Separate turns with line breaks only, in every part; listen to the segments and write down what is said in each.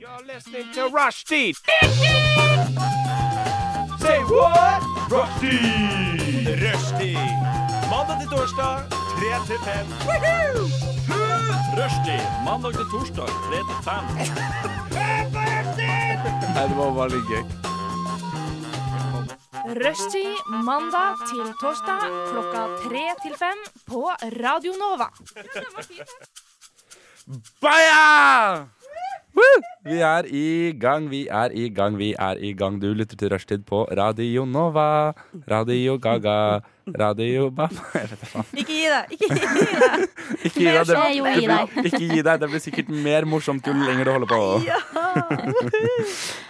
You're listening to Rushdie. Say what? Rushdie. Rushdie. Mandag til torsdag, 3 til 5. Rushdie. Mandag til torsdag, 3 til 5. det var veldig gøy.
Rushtid mandag til torsdag klokka tre til fem på Radio Nova.
Baja!
Vi er i gang, vi er i gang, vi er i gang. Du lytter til Rushtid på Radio Nova, Radio Gaga, Radio Bam. Jeg vet da faen.
Ikke gi deg! Ikke gi
Ikke gi deg. Det,
Nei, jo,
det
gi
blir, ikke gi deg. Det blir sikkert mer morsomt jo lenger du holder på.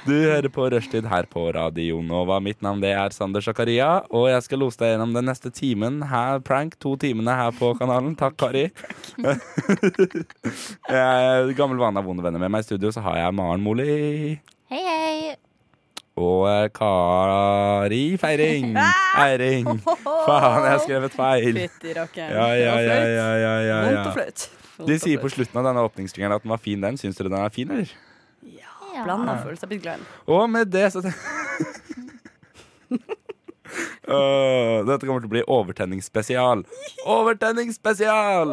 Du hører på Rushtid her på Radio Nova. Mitt navn det er Sander Zakaria, og jeg skal lose deg gjennom den neste timen her, prank, to timene her på kanalen. Takk, Kari. Jeg er Eh, Gammel vane av vonde venner med meg i studio, så har jeg Maren Moli.
Hei, hei.
Og eh, Kari Feiring. Eiring. Faen, jeg har skrevet feil.
Ah! Fytti rakkeren.
Ja, ja, ja, ja, ja, ja,
Vondt og
ja.
flaut.
De sier på slutten av denne åpningsjingeren at den var fin, den. Syns dere den er fin, eller?
Ja.
Blanda følelser. Jeg blitt glad i den.
Og med det så Åh, Dette kommer til å bli overtenningsspesial. Overtenningsspesial!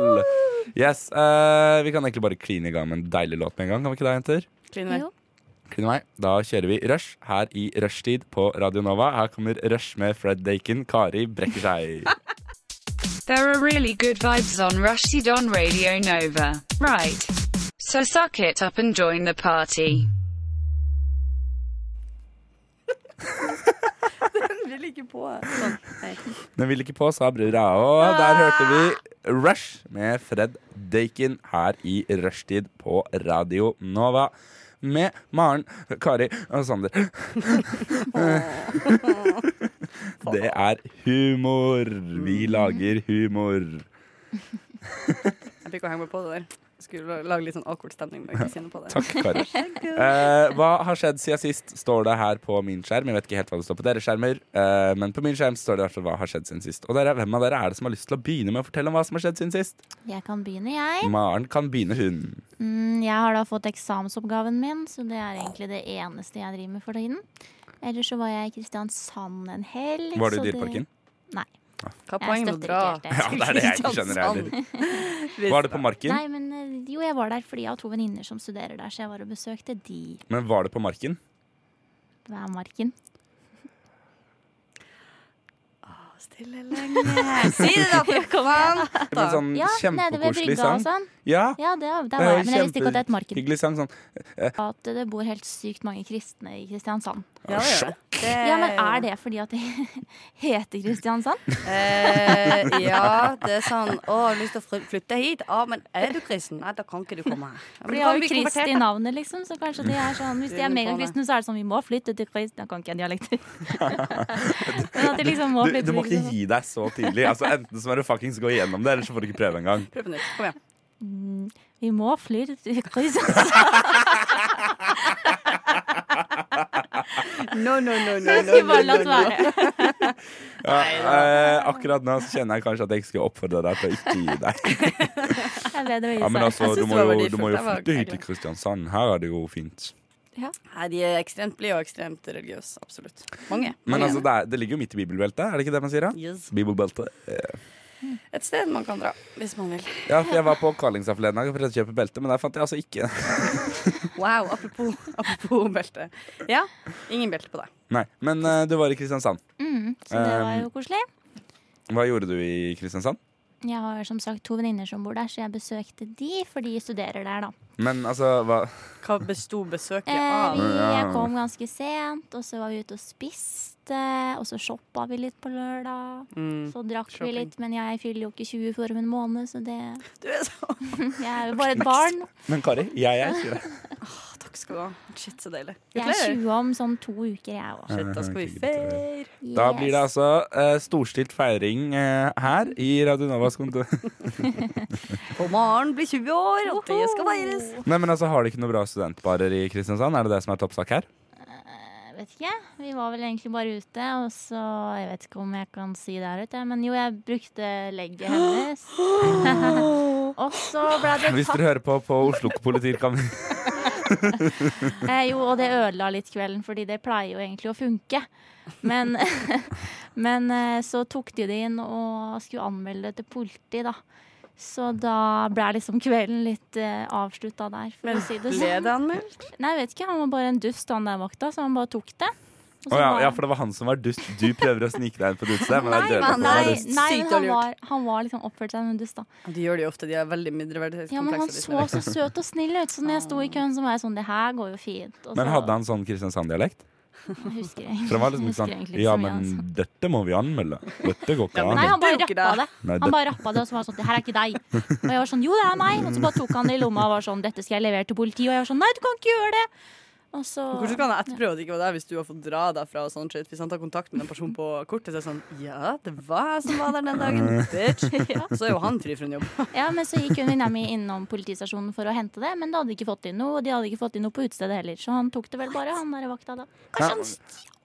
Yes, eh, Vi kan egentlig bare kline i gang med en deilig låt med en gang. Kan vi ikke det, jenter?
Kline vei.
Jo.
Kline vei. Da kjører vi Rush her i rushtid på Radio Nova. Her kommer Rush med Fred Dakin. Kari brekker seg.
There are really good vibes on Rushdie on Radio Nova. Right. So suck it up and join the party.
Den vil ikke på. Sånn. Nei.
Den vil ikke på, sa brura. Og der hørte vi Rush med Fred Dakin her i rushtid på Radio Nova. Med Maren, Kari og Sander. Det er humor. Vi lager humor.
Jeg fikk å henge meg på det der. Skulle lage litt sånn awkward stemning. Men ikke kjenne på det.
Takk, Kari. Eh, hva har skjedd siden sist, står det her på min skjerm. Jeg vet ikke helt hva det står på deres skjermer, eh, men på min skjerm står det i hvert fall hva har skjedd siden sist. Og dere, hvem av dere er det som har lyst til å begynne med å fortelle om hva som har skjedd siden sist?
Jeg kan begynne, jeg.
Maren kan begynne, hun.
Mm, jeg har da fått eksamensoppgaven min, så det er egentlig det eneste jeg driver med for tiden. Ellers så var jeg i Kristiansand en helg.
Var du
så
i
det-
Dyreparken?
Hva er
Jeg
poenget med å
støtter
dra?
Ja,
Sånn.
ikke helt det.
det er det jeg ikke skjønner heller. Var det på Marken?
Nei, men eh, jo, jeg var der fordi jeg har to venninner som studerer der, så jeg var og besøkte de
Men var det på Marken?
hver marken.
Stille lenge. Si det, da, for faen!
Men sånn
Ja, nede ved
kjempekoselig
brygga og
sang.
sånn.
Ja,
Ja, det, der
er
var jeg,
jo
men jeg visste ikke at det er et marked.
hyggelig sang. Sånn.
At det bor helt sykt mange kristne i Kristiansand.
Ja, det gjør det. Det-
Ja, men er det fordi at det heter Kristiansand?
Eh, ja, det er sånn Å, har du lyst til å fly- flytte hit? Ja, men er du kristen? Nei, da kan ikke du komme her. Ja, men
For
du
de
kan
har jo
bli
Krist
konvertert,
i
da.
navnet, liksom. Så kanskje de er sånn Hvis de er
Mm,
megakristne, så er det sånn Vi må flytte til Kristian. Kan ikke jeg dialekter. Men at de liksom må
Du,
flytte
du må ikke
til-
gi deg så tidlig. Altså, enten så må du fuckings gå igjennom det, eller så får du ikke prøve engang.
Prøv på nytt. Kom igjen.
Vi må flytte til Kristiansand.
No, no, no, no,
Jeg skulle bare latt være.
Ja, eh, akkurat nå så kjenner jeg kanskje at jeg ikke skal oppfordre deg til å ikke gi deg.
Det er bedre å gi
Ja, men
seg.
altså,
Jeg synes
du
det
må
var
jo,
verdifullt.
du må jo
Det var
flytte hit
hyggelig.
til Kristiansand. Her er det jo fint.
Nei, de er ekstremt blide og ekstremt religiøse. Absolutt. Mange.
Men
Mange.
altså, det, er, det ligger jo midt i bibelbeltet, er det ikke det man sier? da?
Yes.
Bibelbeltet.
Et sted man kan dra hvis man vil.
Ja, for jeg var på Karlingstad forleden dag for å kjøpe belte, men der fant jeg altså ikke
Wow, apropos, apropos belte. Ja, ingen belte på deg.
Nei, men eh, du var i Kristiansand.
Mm, så det var
ehm,
jo koselig.
Hva gjorde du i Kristiansand?
Jeg har som sagt to venninner som bor der, så jeg besøkte de, for de studerer der, da.
Men altså, hva
Hva besto besøket
Eh,
av?
vi,
Ja.
jeg kom ganske sent, og så var vi ute og spiste. Og så shoppa vi litt på lørdag.
Mm.
Så drakk
shopping.
vi litt, men jeg fyller jo ikke 20 for om en måned, så det
Du er så
Jeg er jo bare et barn.
Men Kari, jeg er ikke det.
Takk skal du ha. Shit, så deilig.
Jeg er
Gratulerer.
20 om sånn to uker, jeg òg.
Shit, da skal vi feire.
Da blir det altså eh, storstilt feiring eh, her i Radio Novas kontor.
På morgen blir 20 år, og det skal feires.
Nei, men altså, Har de ikke noen bra studentbarer i Kristiansand? Er det det som er toppsak her?
Vet ikke. Vi var vel egentlig bare ute, og så Jeg vet ikke om jeg kan si det her ute, men jo, jeg brukte legget hennes. og så ble det
Hvis
tatt
dere hører på på Oslo politikammer
Eh, jo, og det ødela litt kvelden, fordi det pleier jo egentlig å funke. Men, men eh, så tok de det inn og skulle anmelde det til politi, da. Så da ble liksom kvelden litt eh, avslutta der, for
Men
å si det
ble
sånn.
det anmeldt?
Nei, jeg vet ikke, han var bare en dust, han der vakta, så han bare tok det. Og
Å
så
ja,
var
ja,
han-
for det var han som var dust. Du prøver å snike deg inn på et utested, men det
Nei,
er dødelig at
men
han
nei.
var
Nei,
dust.
nei
Sykt
men
dårlig
han
gjort.
var, han var liksom oppført seg som en dust, da.
De gjør det jo ofte. De er veldig
Ja, men han
mindreverdighetskomplekse.
så så søt og snill ut, så når jeg sto i køen, så var jeg sånn Det her går jo fint. Og
Men
så-
hadde han sånn Kristiansand-dialekt?
Jeg husker egentlig-
For han var liksom ikke
jeg husker
sånn
egentlig ikke
Ja,
så mye,
men
altså.
dette må vi anmelde. Dette går ikke
Nei,
an.
han bare
Det er jo ikke
rappa det.
det.
Nei,
Han
det-
bare rappa det, og så var han sånn Det her er ikke deg. Og jeg var sånn Jo, det er meg. Og så bare tok han det i lomma og var sånn Dette skal jeg levere til politiet. Og jeg var sånn Nei, du kan ikke gjøre det. Og så
Hvordan kan jeg etterprøve at det ikke var deg hvis du har fått dra derfra? og sånn shit Hvis han tar kontakt med en person på kortet, så er det sånn Ja, det var jeg som var der den dagen, bitch. Så er jo han fri for en jobb.
Ja, men så gikk venninna mi innom politistasjonen for å hente det, men de hadde ikke fått inn noe, og de hadde ikke fått inn noe på utestedet heller, så han tok det vel bare, han der vakta da. Kanskje han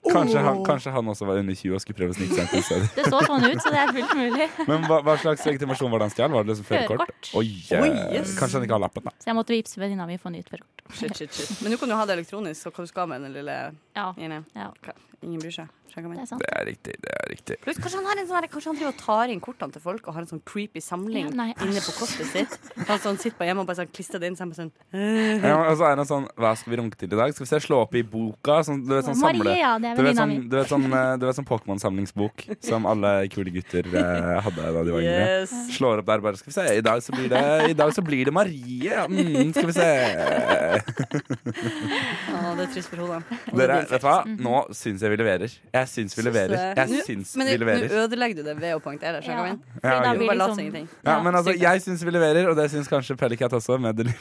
Kanskje han, kanskje han også var under 20 og skulle prøve å snike seg inn på utestedet.
Det så sånn ut, så det er fullt mulig.
Men hva, hva slags legitimasjon var det han stjal? Var det liksom førerkort?
Førerkort.
Oi, eh,
Oi, yes.
Kanskje han ikke har lappen, da.
Så jeg måtte vippse venninna mi for nytt førerkort.
Shit, shit, shit. Men nå kan du ha det elektronisk, så hva du skal med den lille
Ja,
greiene?
ja,
Hva? Ingen bryr seg. Skjønner hva jeg
det
mener.
er sant.
Det er riktig. det er riktig
Pluss, kanskje han, har en sånn her- kanskje han driver og tar inn kortene til folk og har en sånn creepy samling
Ja, nei,
inne på kortet sitt. Han sånn sitter bare hjemme og bare sånn klistrer det inn sammen sånn «Øh».
ja, Og så er han sånn Hva skal vi runke til i dag? Skal vi se, slå opp i boka? Sånn, du vet, sånn
Marie,
samle
ja, det er
Du vet
venninna
sånn,
mi.
du vet sånn, eh, du vet sånn Pokémon-samlingsbok som alle kule gutter eh, hadde da de var yngre?
Yes.
Slår opp der bare Skal vi se, i dag så blir det, i dag så blir det Marie. ja, Mm, skal vi se.
Å, det er trist for hodet.
Dere, vet du hva?
Mm.
Nå syns jeg vi leverer. Jeg syns vi leverer. Jeg syns
Men
vi
nå nå
leverer.
ødelegger du det ved å poengtere.
Ja,
Skjønner du hva jeg mener?
fordi
Ja,
da
ok.
blir
Bare lat som
liksom-
ingenting.
Ja, men altså,
sykt.
jeg syns vi leverer, og det syns kanskje Pellicat også, med Deliver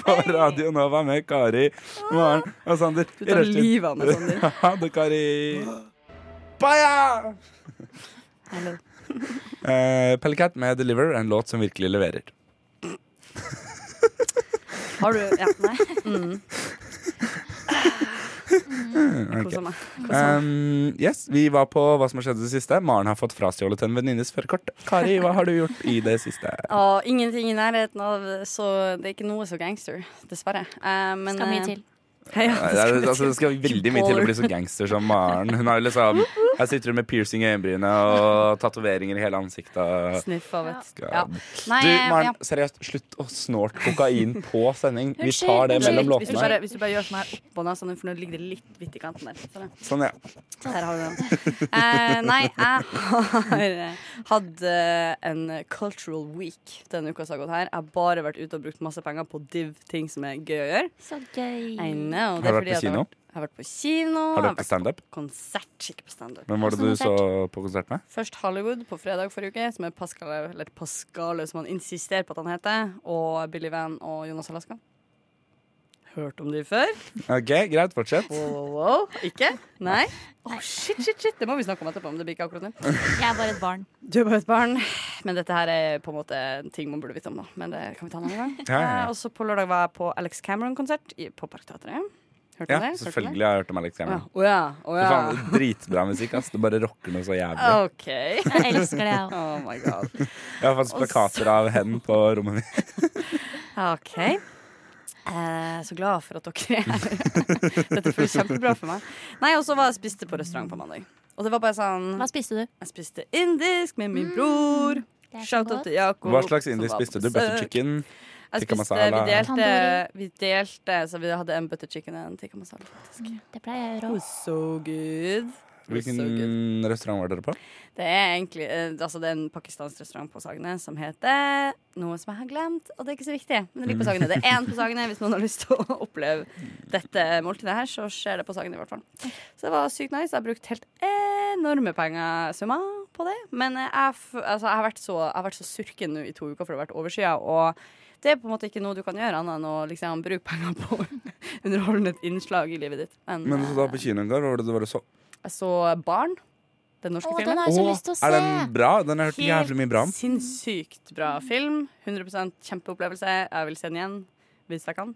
på Radio Nova med Kari, Maren og Sander.
Du tar livet av meg, Sander.
Ha det, Kari. Baja!
Hello.
Eh, Pellicat med 'Deliver', en låt som virkelig leverer.
Har du Ja, nei. Mm. Jeg
ok.
koser meg.
Um, yes, Vi var på hva som har skjedd i det siste. Maren har fått frastjålet en venninnes førerkort. Kari, hva har du gjort i det siste?
Og ingenting i nærheten av, så det er ikke noe så gangster, dessverre. Eh, men,
Skal mye
eh,
til.
Ja,
Nei,
det
det,
skal
er, altså, det skal veldig mye til å bli så gangster som Maren. Hun har jo liksom Her sitter hun med piercing i øyenbrynet og tatoveringer i hele ansiktet. og-
Sniffa, vet
Skal-
Ja. Nei, eh,
Du,
ja.
Maren, seriøst, slutt å snorte kokain på sending. Vi
Unnskyld,
tar det
unnskyld.
mellom
Hvis du,
låtene.
bare, hvis du bare gjør sånn her oppå nesa, nå, for nå ligger det litt hvitt i kanten der. Sånn, ja.
Sånn, ja.
Der har du den. Eh, nei, jeg har eh, hatt eh, en cultural week denne uka som har gått her. Jeg har bare vært ute og brukt masse penger på div ting som er gøy å gjøre.
Så gøy.
I know.
Har
Det
du
er
vært
fordi
på
at jeg
kino?
vært- Jeg har vært på kino.
Har du
jeg
vært på standup?
på konsert, ikke på standup.
Hvem var det du så på konsert med?
Først Hollywood på fredag forrige uke, som er Pascal, eller Pascal som han insisterer på at han heter, og Billy Van og Jonas Alaska. Hørt om de før?
Ok, Greit, fortsett.
Wow, wow, wow. Ikke? Nei? Å, shit, shit, shit. Det må vi snakke om etterpå, men det blir ikke akkurat nå.
Jeg er bare et barn.
Du er bare et barn. Men dette her er på en måte ting man burde vite om, da. Men det kan vi ta en annen gang.
Ja, ja,
Eh,
ja.
Og så på lørdag var jeg på Alex Cameron-konsert i- på Parkteatret. Hørte du
ja
det? Hørte du det?
selvfølgelig har jeg hørt om Alex
Å ja.
Cameron.
Å ja. Å
Fy faen,
ja.
Dritbra musikk, ass. Det bare rocker noe så jævlig.
OK.
Jeg elsker det, jeg òg.
Oh my god.
Jeg har faktisk
Og så-
plakater av hen på rommet mitt.
OK. Eh, så glad for at dere er her. Dette føles kjempebra for meg. Nei, Og så var jeg spiste på restaurant på mandag. Og det var bare sånn
Hva spiste du?
Jeg spiste indisk med min bror.
Det er så
Shout-out
godt.
til Jakob.
Hva slags
som
indisk
var på
spiste du?
besøk.
Butter chicken?
Jeg
Tikka
spiste, vi
masala?
delte,
Tandoori.
vi delte, så vi hadde en butter chicken og en tikka masala.
Det pleier jeg
It
å gjøre òg.
was so good. It was so good.
Hvilken restaurant var dere på?
Det er egentlig eh, altså det er en pakistansk restaurant på Sagene som heter noe som jeg har glemt. Og det er ikke så viktig. Men det ligger på Sagene. Det er én på Sagene hvis noen har lyst til å oppleve dette måltidet her. Så skjer det på Sagene i hvert fall. Så det var sykt nice. Jeg har brukt helt enorme penger summa på det. Men eh, jeg, f altså, jeg, har vært så, jeg har vært så surken nå i to uker for det har vært overskya. Og det er på en måte ikke noe du kan gjøre annet enn å liksom bruke penger på underholdende innslag i livet ditt. Men,
Men så da
eh,
på kinoen i går, hva var det du var og så?
jeg så Barn. Den norske
Å,
filmen.
den har jeg så
Å,
lyst til å se.
Er den bra? Den har jeg hørt jævlig mye bra om.
Sinnssykt bra film. 100 kjempeopplevelse. Jeg vil se den igjen hvis jeg kan.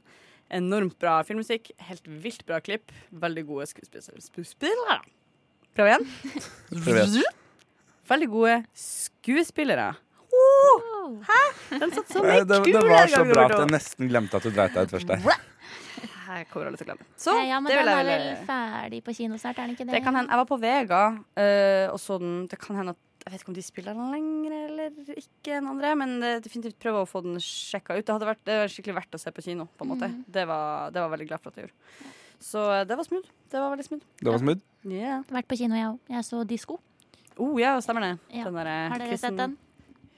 Enormt bra filmmusikk. Helt vilt bra klipp. Veldig gode skuespillere. Skuespillere. Prøv igjen.
Prøv igjen.
Veldig gode skuespillere. Oh! Den satt så
Eh,
mye
Det, det
kulere
var så
gang
bra
nummer
at jeg
to.
nesten glemte at du dreit deg ut først der.
Jeg kommer aldri til å glemme det. Så
Ja, ja, men
det
den
vil jeg
er vel
vel
ferdig på kino snart, er den ikke det?
Det kan hende. Jeg var på Vega eh, og så den. Det kan hende at jeg vet ikke om de spiller den lenger eller ikke enn andre, men eh, definitivt prøve å få den sjekka ut. Det hadde vært det var skikkelig verdt å se på kino, på en måte. Det var, det var jeg veldig glad for at jeg gjorde. Så eh, det var smooth. Det var veldig smooth.
Det var smooth.
Yeah.
Vært på kino, jeg òg. Jeg så disko.
Oh, ja, stemmer det.
Ja.
Den derre
Har dere sett den?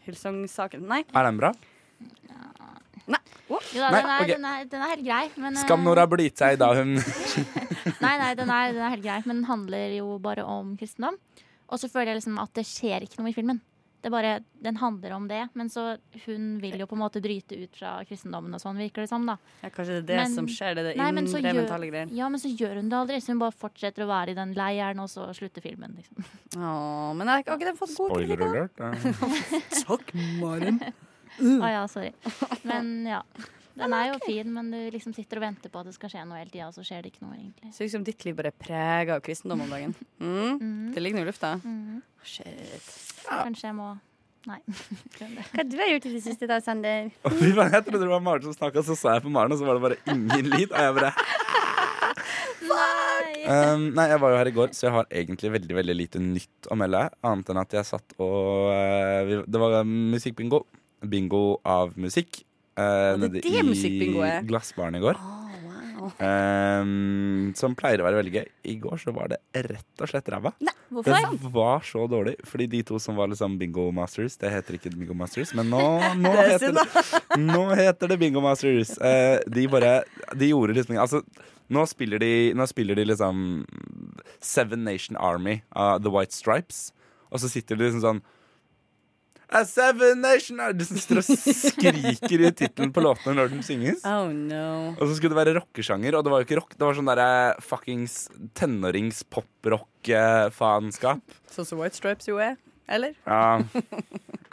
Hillsong-saken. Nei.
Er den bra?
Jo da,
Nei,
den, er,
ok.
den, er, den er helt grei. Men, eh,
Skam-Nora har gitt seg da hun
Nei, nei, den er, den er helt grei, men den handler jo bare om kristendom. Og så føler jeg liksom at det skjer ikke noe i filmen. Det er bare, Den handler om det, men så hun vil jo på en måte bryte ut fra kristendommen og sånn, virker det som, da.
Ja, kanskje det er det
Men-
som skjer, det, er det
Nei, men så
indre
gjør-
mentale greier.
Ja, men så gjør hun det aldri, så hun bare fortsetter å være i den leiren, og så slutter filmen, liksom.
Åh, men jeg, har ikke den fått god
Spoiler
kritikk?
alert. eh.
Takk, Maren.
Mm.
Å Ah, ja, sorry. Men ja. Den er jo fin, men du liksom sitter og venter på at det skal skje noe hele tida, og så skjer det ikke noe, egentlig.
Så liksom ditt liv bare er preget av kristendom om dagen. Mm. Det ligger noe i lufta. Shit.
Kanskje jeg må Nei.
Hva du har gjort i det siste, da, Sander?
Og fy faen, Jeg trodde det var Maren som snakka, så sa jeg på Maren, og så var det bare ingen lyd. Og jeg bare
Nei.
Um, nei, jeg var jo her i går, så jeg har egentlig veldig veldig lite nytt å melde. Annet enn at jeg satt og eh, vi, Det var musikkbingo. Bingo av musikk. Uh,
det er det musikkbingo er.
I glassbaren i går.
wow.
Um, som pleier å være veldig gøy. I går så var det rett og slett ræva. Det
Hvorfor?
var så dårlig, fordi de to som var liksom Bingo Masters Det heter ikke Bingo Masters, men nå, nå,
Det er
heter,
synd,
det, nå heter det Bingo Masters. Eh, de bare De gjorde liksom ikke- Altså, nå spiller de, nå spiller de liksom Seven Nation Army av The White Stripes, og så sitter de liksom sånn A Seven Nation Army De som sitter og skriker i tittelen på låtene når den synges.
Oh no.
Og så skulle det være rockesjanger, og det var jo ikke rock. Det var sånn derre fuckings eh, tenårings-poprock-faenskap.
Sånn som White Stripes jo er. Eller?
Ja.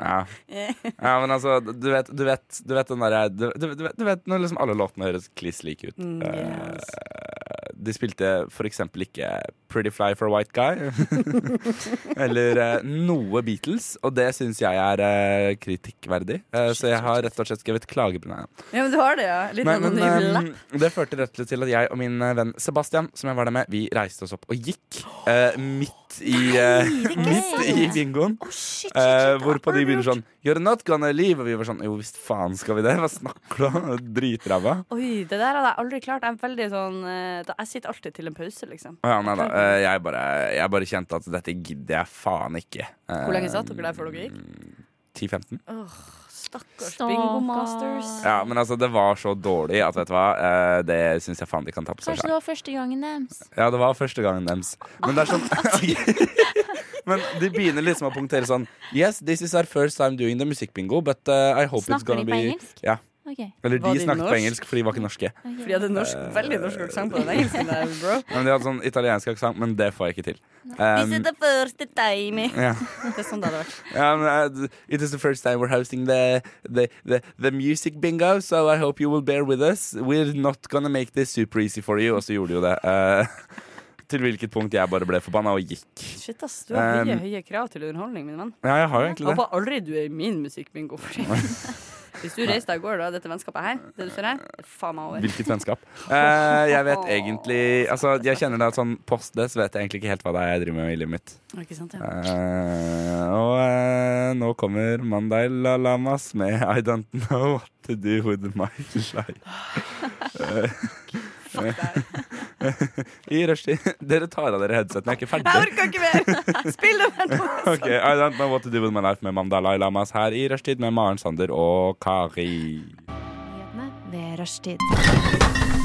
ja.
Eh.
ja men altså, du vet, du vet, du vet den derre du, du, du vet- du vet når liksom alle låtene høres kliss like ut.
Mm,
Eh,
yes.
de spilte for eksempel ikke Pretty Fly for a White Guy. Eller eh, noe Beatles, og det syns jeg er eh, kritikkverdig. Eh, så jeg har rett og slett skrevet klage på den.
Ja, men du har det, ja. Litt sånn
Men, men
anonym lapp.
ehm, det førte rett og slett til at jeg og min eh, venn Sebastian, som jeg var der med, vi reiste oss opp og gikk eh, midt i, eh, midt i bingoen. Eh, hvorpå de begynner sånn You're not gonna leave. Og vi var sånn Jo visst faen skal vi det. Hva snakker du om? Dritræva.
Oi, det der hadde jeg aldri klart. Jeg er veldig sånn eh, da- Jeg sitter alltid til en pause, liksom.
Å Ja, nei da. eh, jeg, bare, jeg bare kjente at dette gidder jeg faen ikke. Eh, mm,
Hvor lenge satt dere der før dere gikk?
10-15?
Stakkars
Stakkar.
Bingo Masters.
Ja, men altså, det var så dårlig at vet du hva, eh, det syns jeg faen de kan ta på seg
Kanskje
selv.
det var første gangen eh, deres.
Ja, det var første gangen deres. Men det er sånn Men de begynner liksom å punktere sånn Yes, this is our first time doing the musikkbingo, but uh, I hope it's
Snakker
gonna
de
be
på engelsk?
Ja.
OK.
Eller de,
Var de
snakket på
norsk?
engelsk, for de var ikke norske.
ok.
For de hadde norsk, veldig norsk aksent på den engelsken der, bro.
Ja, Men De hadde sånn italiensk aksent, men det får jeg ikke til. Um,
the first time.
ja.
Det er sånn det hadde vært.
ja, men, uh, it is the first time we're hosting the, the, the, the music bingo, so I hope you will bear with us. We're not gonna make this super easy for you. Og så gjorde de jo det. eh, til hvilket punkt jeg bare ble forbanna og gikk.
Shit, ass. Du har
Um,
høye, høye krav til underholdning, min venn.
Ja, jeg har jo egentlig det.
Håper aldri du er i min musikkbingo. fordi- Hvis du reiser deg i går, da, dette vennskapet her, det du ser her, det er faen meg over.
Hvilket vennskap? Eh, jeg vet egentlig Altså, jeg kjenner det at sånn post det, så vet jeg egentlig ikke helt hva det er jeg driver med i livet mitt.
Ikke sant, ja.
Eh, og eh, nå kommer Mandai La Lamas med I Don't Know What To Do With My Life. Eh,
Fuck deg.
I rushtid. Dere tar av dere headsetene, jeg er ikke
Jeg
ferdig.
orker ikke mer! Spill det mer nå!
Ok, I Don't Know What To Do With My Life med Mandalai Lamas her i rushtid med Maren Sander og Kari.
Nyhetene ved rushtid.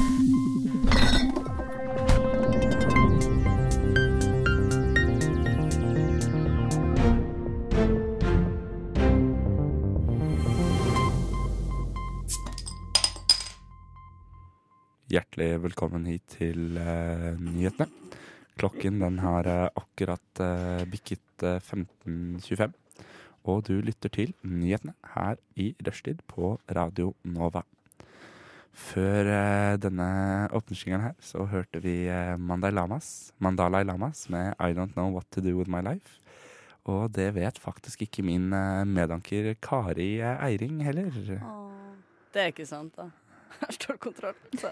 Hjertelig velkommen hit til eh, nyhetene. Klokken den har eh, akkurat eh, bikket eh, 15.25. Og du lytter til nyhetene her i rushtid på Radio Nova. Før eh, denne åpningssingeren her, så hørte vi eh, Mandai Lamas, Mandalai Lamas med I Don't Know What To Do With My Life. Og det vet faktisk ikke min eh, medanker Kari eh, Eiring heller.
Det er ikke sant, da. Her står kontroll. Så.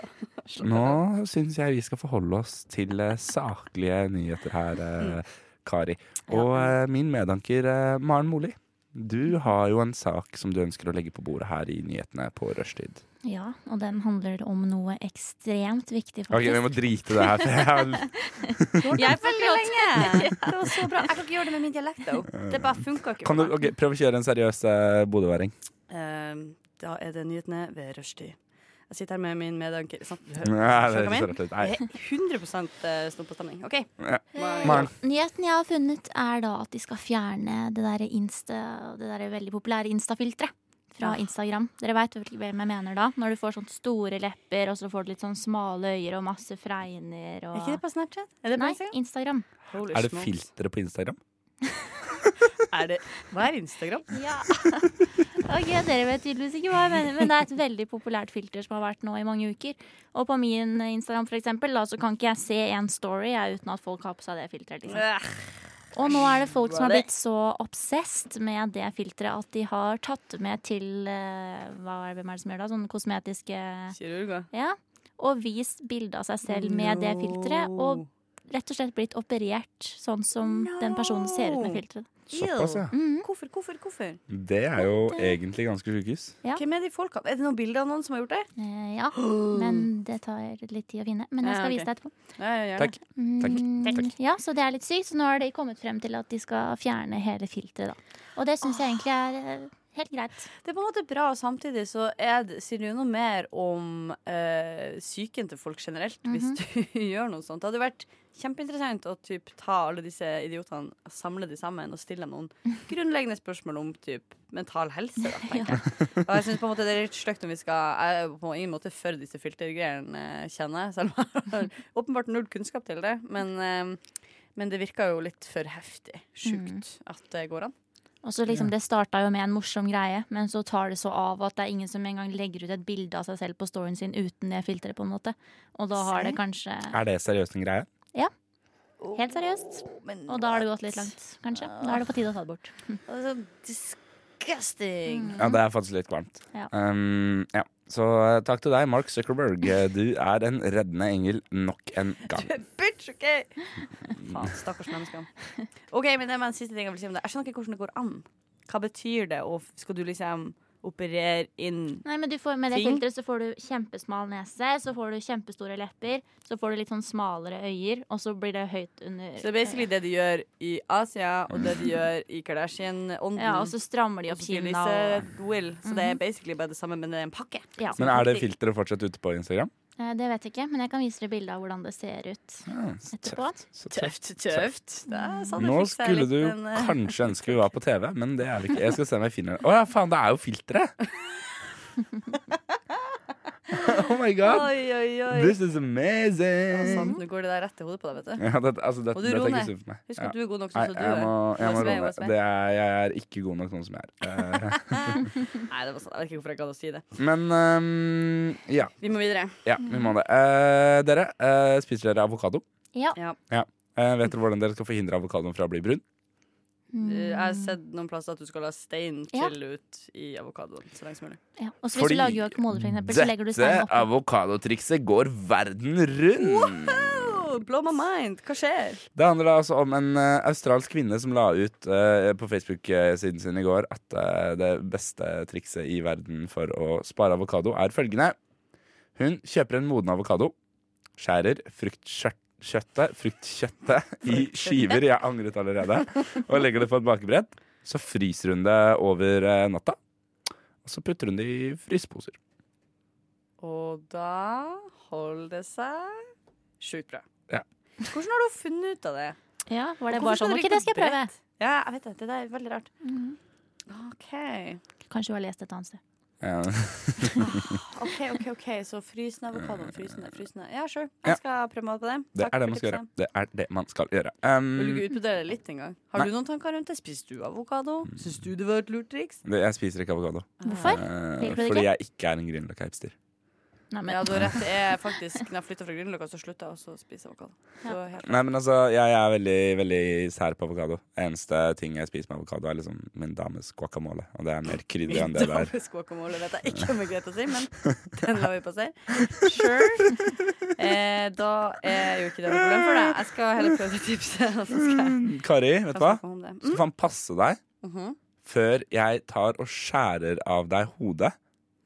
Nå syns jeg vi skal forholde oss til eh, saklige nyheter her, eh, Kari. Og eh, min medanker eh, Maren Moli, du har jo en sak som du ønsker å legge på bordet her i nyhetene på rushtid.
Ja, og den handler om noe ekstremt viktig,
Ok, vi må
faktisk.
drite det her. For jeg har...
Jeg får
Veldig lenge! Det var så bra. Jeg kan ikke gjøre det med min dialekt, though. Det bare funka ikke. for
Kan du
meg.
ok, prøve å kjøre en seriøs eh, bodøværing?
Ehm, da er det nyhetene ved rushtid. Jeg sitter her med min medanker. Sånn, Sant? Du hører-
Nei, det
skjønner hva jeg
høres
mener?
rart ut. Nei.
Jeg er eh, 100 stumpestemning. OK.
Ja.
Maren.
Maren.
Nyheten jeg har funnet, er da at de skal fjerne det derre Insta, det derre veldig populære Insta-filteret
Ah.
fra Instagram. Dere veit hvem jeg mener da? Når du får sånne store lepper, og så får du litt sånn smale øyer og masse fregner
Er ikke det
og
på Snapchat? Er det på
Nei,
Instagram?
Instagram.
Holy
Er det
smokes.
filtre på Instagram?
Er det, hva er Instagram?
Ja. ok, Dere vet tydeligvis ikke hva jeg mener, men det er et veldig populært filter som har vært nå i mange uker. Og på min Instagram for eksempel, da, så kan ikke jeg se en story jeg, uten at folk har på seg det filteret. Liksom.
Øh,
Og nå er det folk som har
Hva er det?
blitt så obsessed med det filteret at de har tatt det med til eh, hva er, Hvem er det som gjør det? Sånne kosmetiske
Kirurger.
Ja. Og vist bilde av seg selv med det filteret. Og rett og slett blitt operert sånn som den personen ser ut med filteret.
Såpass, ja.
Mhm.
Hvorfor, hvorfor, hvorfor?
Det er jo egentlig ganske sjukehus.
Ja.
Hvem er de folka? Er det noen bilder av noen som har gjort det?
Eh, ja. Men det tar litt tid å finne. Men jeg
Ja,
skal
ok.
vise deg etterpå.
Ja, ja, gjør det.
Takk.
Mm,
Takk.
Ja, så det er litt sykt. Så nå har de kommet frem til at de skal fjerne hele filteret, da. Og det syns jeg egentlig er eh, helt greit.
Det er på en måte bra, og samtidig så er det, sier det jo noe mer om eh, psyken til folk generelt,
Mhm.
hvis du gjør noe sånt. Det hadde jo vært kjempeinteressant å typ, ta alle disse idiotene, samle de sammen og stille dem noen grunnleggende spørsmål om typ, mental helse. Da, tenker jeg. Og jeg synes på en måte det er litt stygt om vi skal Jeg er på ingen måte for disse filtergreiene, eh, kjenner jeg, selv om jeg har åpenbart null kunnskap til det. Men, eh, men det virker jo litt for heftig,
Mm.
sjukt, at det går an.
Og så liksom Det starta jo med en morsom greie, men så tar det så av at det er ingen som engang legger ut et bilde av seg selv på storyen sin uten det filteret, på en måte. Og da har det kanskje
Er det seriøst en greie?
Helt seriøst.
Men
Og da har det gått litt langt, kanskje. Da er det på tide å ta det bort.
Altså, disgusting.
Ja, det er faktisk litt kvalmt.
Ja.
Um, ja. Så eh, takk til deg, Mark Zuckerberg. Eh, Du er en reddende engel nok en gang.
Mm.
Bitch, OK! Faen, stakkars mennesker. OK, men det var en siste ting jeg vil si om det. Jeg skjønner ikke hvordan det går an. Hva betyr det, og skal du liksom operere inn
Nei, men du får, Med det
Ting.
filteret så får du kjempesmal nese, så får du kjempestore lepper, så får du litt sånn smalere øyer, og så blir det høyt under
Så det er basically det de gjør i Asia, og det de gjør i Kardashian-ånden.
Ja, og så strammer de
Og
opp
så sier
kinna
Lise
og Mhm.
Will. Så det er basically bare det samme, men det er en pakke.
ja.
Men er det filteret fortsatt ute på Instagram?
Eh, Det vet jeg ikke, men jeg kan vise dere bilde av hvordan det ser ut
Ja, så
etterpå.
tøft, så tøft.
Tøft, tøft. Det er sånn
Nå
jeg fikk seg
skulle
litt
du
en, eh,
kanskje ønske vi var på TV, men det er vi ikke. Jeg skal se om jeg finner det. Å ja, faen, det er jo filteret! Oh my god!
Oi, oi, oi.
This is
Ja,
amazing!
sant. Nå går det der rett til hodet på deg, vet du.
Ja, det, altså, det,
Og du,
dette er
Rone,
ikke sunt for meg.
Husk
Ja.
at du er god nok
Nei,
sånn som du
jeg
er.
må, jeg må
OSB,
roe meg.
OSB.
Det er, jeg er ikke god nok sånn som jeg er. Eh,
Nei, det var sånn. Jeg vet ikke hvorfor jeg gadd å si det.
Men ehm, ja,
Vi må videre.
ja, vi må det. Eh, dere, eh, spiser dere avokado?
Ja.
Ja.
Eh, vet dere hvordan dere skal forhindre avokadoen fra å bli brun?
Mm.
Jeg har sett noen plasser at du skal la stein
Ja.
chille ut i avokadoen så lenge som mulig.
Ja. Og så hvis du lager guacamole, for eksempel, så legger du stein
dette
oppå.
avokadotrikset går verden rundt!
Oh, blow my mind! Hva skjer?
Det handler da altså om en eh, australsk kvinne som la ut eh, på Facebook-siden sin i går at eh, det beste trikset i verden for å spare avokado er følgende. Hun kjøper en moden avokado, skjærer fruktkjøtt- kjøttet- fruktkjøttet i skiver, jeg har angret allerede, og legger det på et bakebrett. Så fryser hun det over eh, natta, og så putter hun det i fryseposer.
Og da holder det seg sjukt bra.
Ja.
Hvordan har du funnet ut av det?
Ja, var det
Hvorfor
bare
skal
sånn?
dere
Ok, det skal jeg prøve. Mm.
Ja, jeg vet det. Det der er veldig rart. OK,
Kanskje du har lest et annet sted.
Ja.
ok, ok, ok så frysende avokado. Frysende, frysende. Ja, sure.
Ja.
Jeg skal prøve meg på det.
Det er det man skal gjøre. Det er det man skal gjøre. Um,
Vil du ikke utbedre det litt engang? Har
Nei. Mm.
du noen tanker rundt det? Spiser du avokado? Syns du det var et lurt triks?
det- jeg spiser ikke avokado.
Hvorfor?
Eh,
Liker du det
fordi
ikke?
jeg ikke er en Grünerløkka-hipster.
Nei, men,
Ja, du har rett. Jeg er faktisk, når jeg flytta fra Grünerløkka, så slutta jeg også å spise avokado. Det var helt-
Nei, men altså, jeg er veldig, veldig sær på avokado. Eneste ting jeg spiser med avokado, er liksom min dames guacamole. Og det er mer krydder enn det der.
Dagens guacamole vet jeg ikke om er greit å si, men den lar vi passere. Sure. Eh, da er jo ikke det noe problem for deg. Jeg skal heller prøve det tipset. Og så skal
Mm.
jeg
Kari, vet du hva?
snakke om det.
Du
Mm.
skal faen passe deg
mhm.
før jeg tar og skjærer av deg hodet.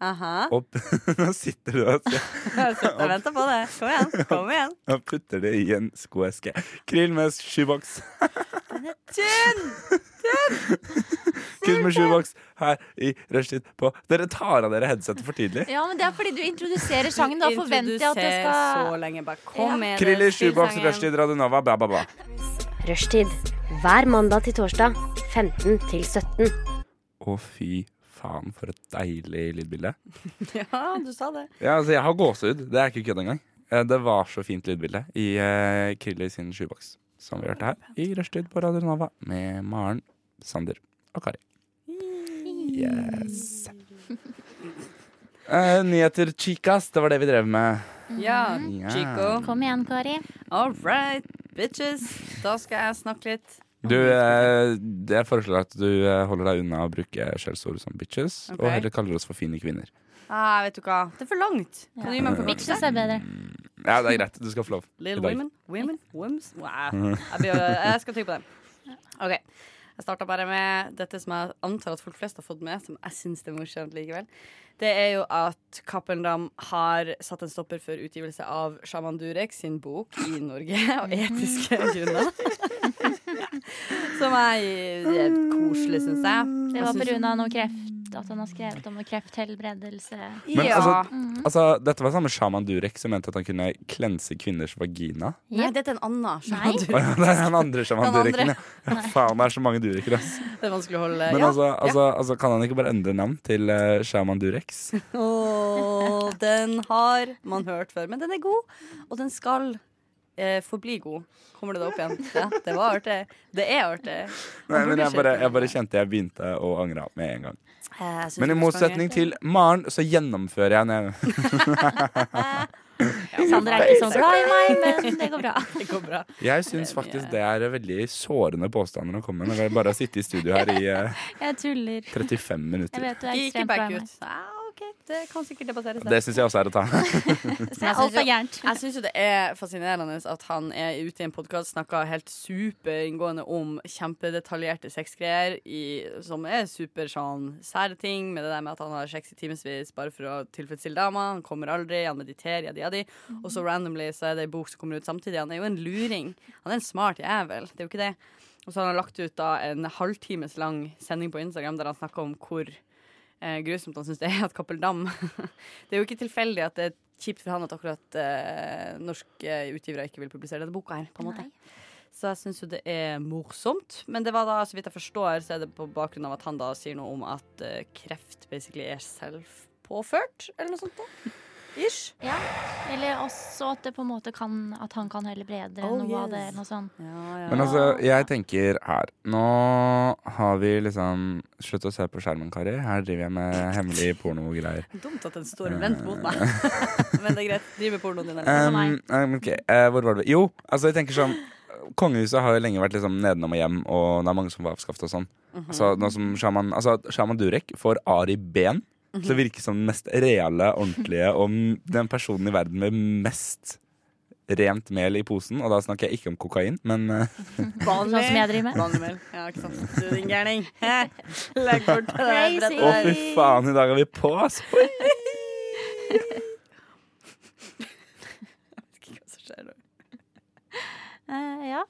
Aha.
Og nå sitter du og
Jeg sitter og venter på det. Kom igjen. Kom igjen.
og putter det i en skoeske. Krill med skyboks.
Tynn!
Krill med skyboks her i rushtid på Dere tar av dere headsetet for tidlig.
ja, men det er fordi du introduserer sangen. Da forventer jeg at jeg
Introduser så
skal
lenge. Bare kom
Ja.
med det.
Krill i
Spill
skyboks,
sangen.
rushtid, Radionova, ba, ba, ba.
Rushtid. Hver mandag til torsdag 15 til 17.
Å, fy faen, for et deilig lydbilde.
Ja, du sa det.
Ja, altså, jeg har gåsehud. Det er ikke kødd engang. Eh, Det var så fint lydbilde i eh, Kriller sin skyboks, som vi hørte her i rushtid på Radio Nova med Maren, Sander og Kari. Yes. Eh, nyheter, chicas. Det var det vi drev med.
Ja,
Ja.
Chico.
Kom igjen, Kari.
All right, bitches. Da skal jeg snakke litt.
Du, eh, jeg foreslår at du eh, holder deg unna å bruke skjellsord som bitches,
Ok.
og heller kaller oss for fine kvinner.
Ah, vet du hva? Det er for langt. Kan du gi meg en forkortelse?
Bitches er bedre.
Ja, det er greit. Du skal få lov. i
Little
dag.
Women? Women? Woms?
Mm.
Wow. Jeg, blir, jeg skal tygge på den. OK. Jeg starta bare med dette som jeg antar at folk flest har fått med, som jeg syns er morsomt likevel. Det er jo at Cappelen Dam har satt en stopper for utgivelse av Shaman Durek sin bok i Norge, av etiske grunner. Som er det er koselig, syns jeg.
Det
Jeg
var
synes-
pga. noe kreft. At han har skrevet om noe krefthelbredelse.
Men
ja.
altså,
Mm.
altså, dette var samme sjaman Durek som mente at han kunne klense kvinners vagina.
Nei, dette er en annen Shaman
Nei.
Å
Durek.
ja, det er den andre sjaman
Den andre.
Dureken, ja. ja. Faen, det er så mange Dureker, ass.
Det er vanskelig å holde
Men
Ja.
altså, altså, altså, kan han ikke bare endre navn til eh, sjaman Durex?
Åh, den har man hørt før, men den er god, og den skal eh, forbli god. Kommer det da opp igjen? Ja, det var artig. Det er artig.
Nei, men jeg bare,
skjønt.
jeg bare kjente jeg begynte å angre med en gang.
Eh, jeg synes
Men i
det er
motsetning til Maren, så gjennomfører jeg eh, når jeg
Sander er ikke så glad i meg, men det går bra.
ganske- Det går bra.
Jeg syns faktisk det er eh, veldig sårende påstander å komme med. når jeg Bare å sitte i studio her i eh,
Jeg tuller.
35
Jeg
minutter.
vet du er
Gikk i
ekstremt glad i
back
meg.
ut. Ah, ok, det kan sikkert debatteres.
Det syns jeg også er å ta.
Så Alt er gærent.
Jeg syns jo det er fascinerende at han er ute i en podkast snakka helt superinngående om kjempedetaljerte sexgreier, i- som er super sånn sære ting, med det der med at han har sex i timevis bare for å tilfredsstille dama, han kommer aldri, han mediterer, jadi, jadi, og
Mhm.
så randomly så er det ei bok som kommer ut samtidig. Han er jo en luring. Han er en smart jævel, det er jo ikke det. Og så har han lagt ut da en halvtimes lang sending på Instagram der han snakker om hvor eh, grusomt han syns det er at Cappel Dam Det er jo ikke tilfeldig at det er kjipt for han at akkurat eh, norske utgivere ikke vil publisere denne boka her. på en måte. Så jeg syns jo det er morsomt. Men det var da, så vidt jeg forstår, så er det på bakgrunn av at han da sier noe om at eh, kreft basically er selvpåført, eller noe sånt. da. Ish.
Ja. Eller også at det på en måte kan At han kan helbrede
Oh,
noe av det,
yes.
eller noe sånt.
Ja, ja.
Men altså, jeg tenker her Nå har vi liksom Slutt å se på skjermen, Kari. Her driver jeg med hemmelige pornogreier.
Dumt at den står og venter mot meg. Men det er greit. Driv med pornoen din. eller?
Um, um, ok, eh, hvor var det vi Jo, altså, jeg tenker sånn Kongehuset har jo lenge vært liksom nedenom og hjem, og det er mange som var avskaffet og sånn. Altså, nå som Shaman, altså, Shaman Durek får Ari Ben, som virker som den mest reale, ordentlige og m- den personen i verden med mest rent mel i posen. Og da snakker jeg ikke om kokain, men eh,
Sånn som jeg driver med.
Vanlig mel. Ja, ikke sant. Du, din gærning. Hæ? Legg bort det der brettet
Å,
der.
fy faen, i dag er vi på, ass! Oi.
Ikke hva som skjer nå.
Eh, ja.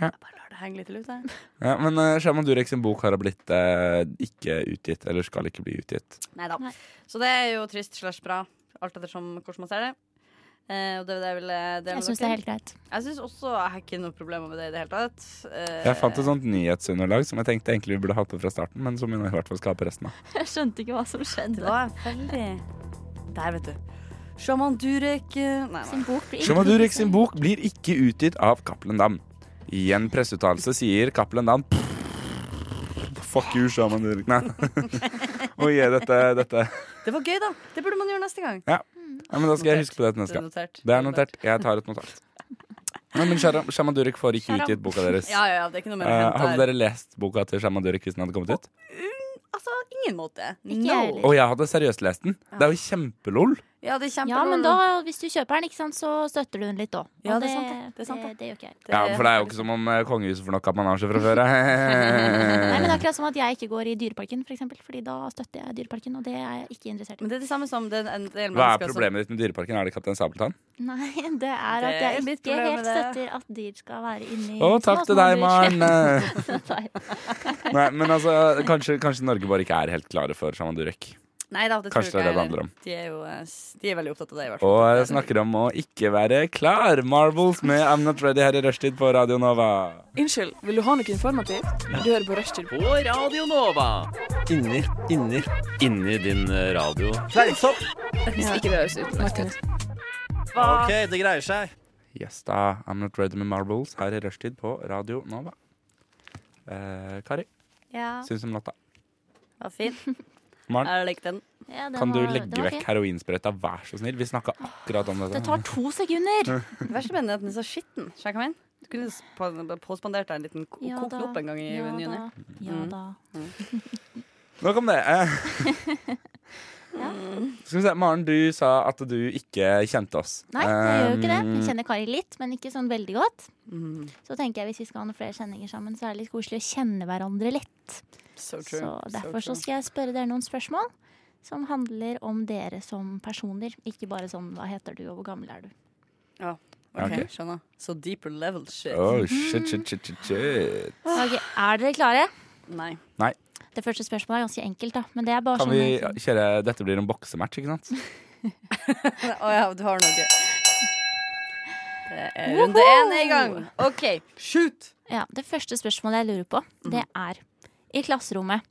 Bare lar det henge litt i lufta.
Ja, men eh, Shaman Durek sin bok har blitt eh, ikke utgitt, eller skal ikke bli utgitt.
Nei da.
Nei.
Så det er jo trist slash bra, alt ettersom hvordan man ser det. Eh, og det var det jeg ville dele
Jeg
med
syns det er
dere.
helt greit.
Jeg syns også jeg har ikke noe problem med det i det hele tatt. Eh,
Jeg fant sånn. et sånt nyhetsunderlag som jeg tenkte egentlig vi burde hatt med fra starten, men som vi nå i hvert fall skal ha på resten av.
Jeg skjønte ikke hva som
Det
skjedde.
var veldig Der, vet du. Shaman Durek eh, Nei, nei.
Sin bok blir
Shaman Durek sin
introdusert.
bok blir ikke utgitt av Cappelen Dam. I en presseuttalelse sier Cappelen Dam Fuck you, Shaman Durek. Nei. Og gi dette, dette
Det Det var gøy, da. Det burde man gjøre neste gang.
Ja, men Da skal jeg huske på det til neste gang.
notert.
Det er notert. Jeg tar et notat. Ja, men Sharam- Shaman Durek får ikke
Sharam.
utgitt boka deres.
Ja, ja, ja, det er ikke noe mer å
Eh,
hente
hadde
her.
dere lest boka til Shaman Durek hvis den hadde kommet ut?
Altså, ingen måte.
Ikke jeg heller.
Og jeg hadde seriøst lest den. Det er jo kjempelol.
Ja, det er kjempe
Ja, men da, hvis du kjøper den, ikke sant, så støtter du den litt òg.
Ja, det er sant det. Det er sant
det, det gjør ikke jeg.
Ja, For det er jo ikke som om eh, kongehuset får nok apanasje fra før.
Nei, men det er
eh.
akkurat som at jeg ikke går i Dyreparken, for eksempel, fordi da støtter jeg Dyreparken, og det er jeg ikke interessert i.
Men det er det samme som det er en del
Hva er
mennesker som-
problemet ditt med Dyreparken? Er det Kaptein Sabeltann?
Nei, det er at
Det er
jeg
mitt
ikke
problem
helt
med det.
støtter at dyr skal være inni
Å, takk til deg, Maren! Eh,
Maren.
Nei, men altså, kanskje, kanskje Norge bare ikke er helt klare for Shaman Durek.
Nei da, det tror
Kanskje
jeg
det er det
ikke
det handler
heller.
om.
De er jo eh, s- de er veldig opptatt av det, i hvert fall.
Og jeg snakker om å ikke være klar. Marvels med I'm Not Ready her i rushtid på Radio Nova.
Unnskyld, vil du ha noe informativt? Du hører på Rushtid.
Inni, inni Inni din eh, radio
Hvis ikke det høres ut som et nytt.
Ok, det greier seg
Yes da, I'm Not Ready med Marvels her i rushtid på Radio Nova. Eh, Kari,
Ja,
syns om natta.
var fin.
Maren,
Jeg likte den.
Ja, den
kan du
var- den
legge
var
vekk
fin.
heroinsprøyta, vær så snill? Vi snakka akkurat om
Det
dette.
tar to sekunder!
Det verste med den er at den er så skitten. Skjønner du hva jeg mener? Du kunne sp- påspandert deg en liten ko-
Ja
kokt
da,
opp en gang i Mm.
ja
ny og ne.
da, Ja da.
Nok om det. Eh. Skal vi se, Maren, du sa at du ikke kjente oss.
Nei, det gjør jo ikke det.
Um,
Jeg kjenner Kari litt, men ikke sånn veldig godt.
Mm.
Så tenker jeg hvis vi skal ha noen flere kjenninger sammen, så er det litt koselig å kjenne hverandre litt.
So true.
Så derfor så
true.
skal jeg spørre dere noen spørsmål som handler om dere som personer. Ikke bare sånn hva heter du, og hvor gammel er du.
Ok,
Ok.
skjønner. Så deeper level shit.
Mm.
Oh, shit, shit, shit, shit, shit.
Ah.
Ok, Er dere klare?
Nei.
Det første spørsmålet er ganske enkelt, da. Men det er bare
Kan
sånn
vi kjøre Dette blir en boksematch, ikke sant?
Å ja, du har noe gøy. Det er runde én er i gang. OK, shoot!
Ja, Det første spørsmålet jeg lurer på, det er I klasserommet,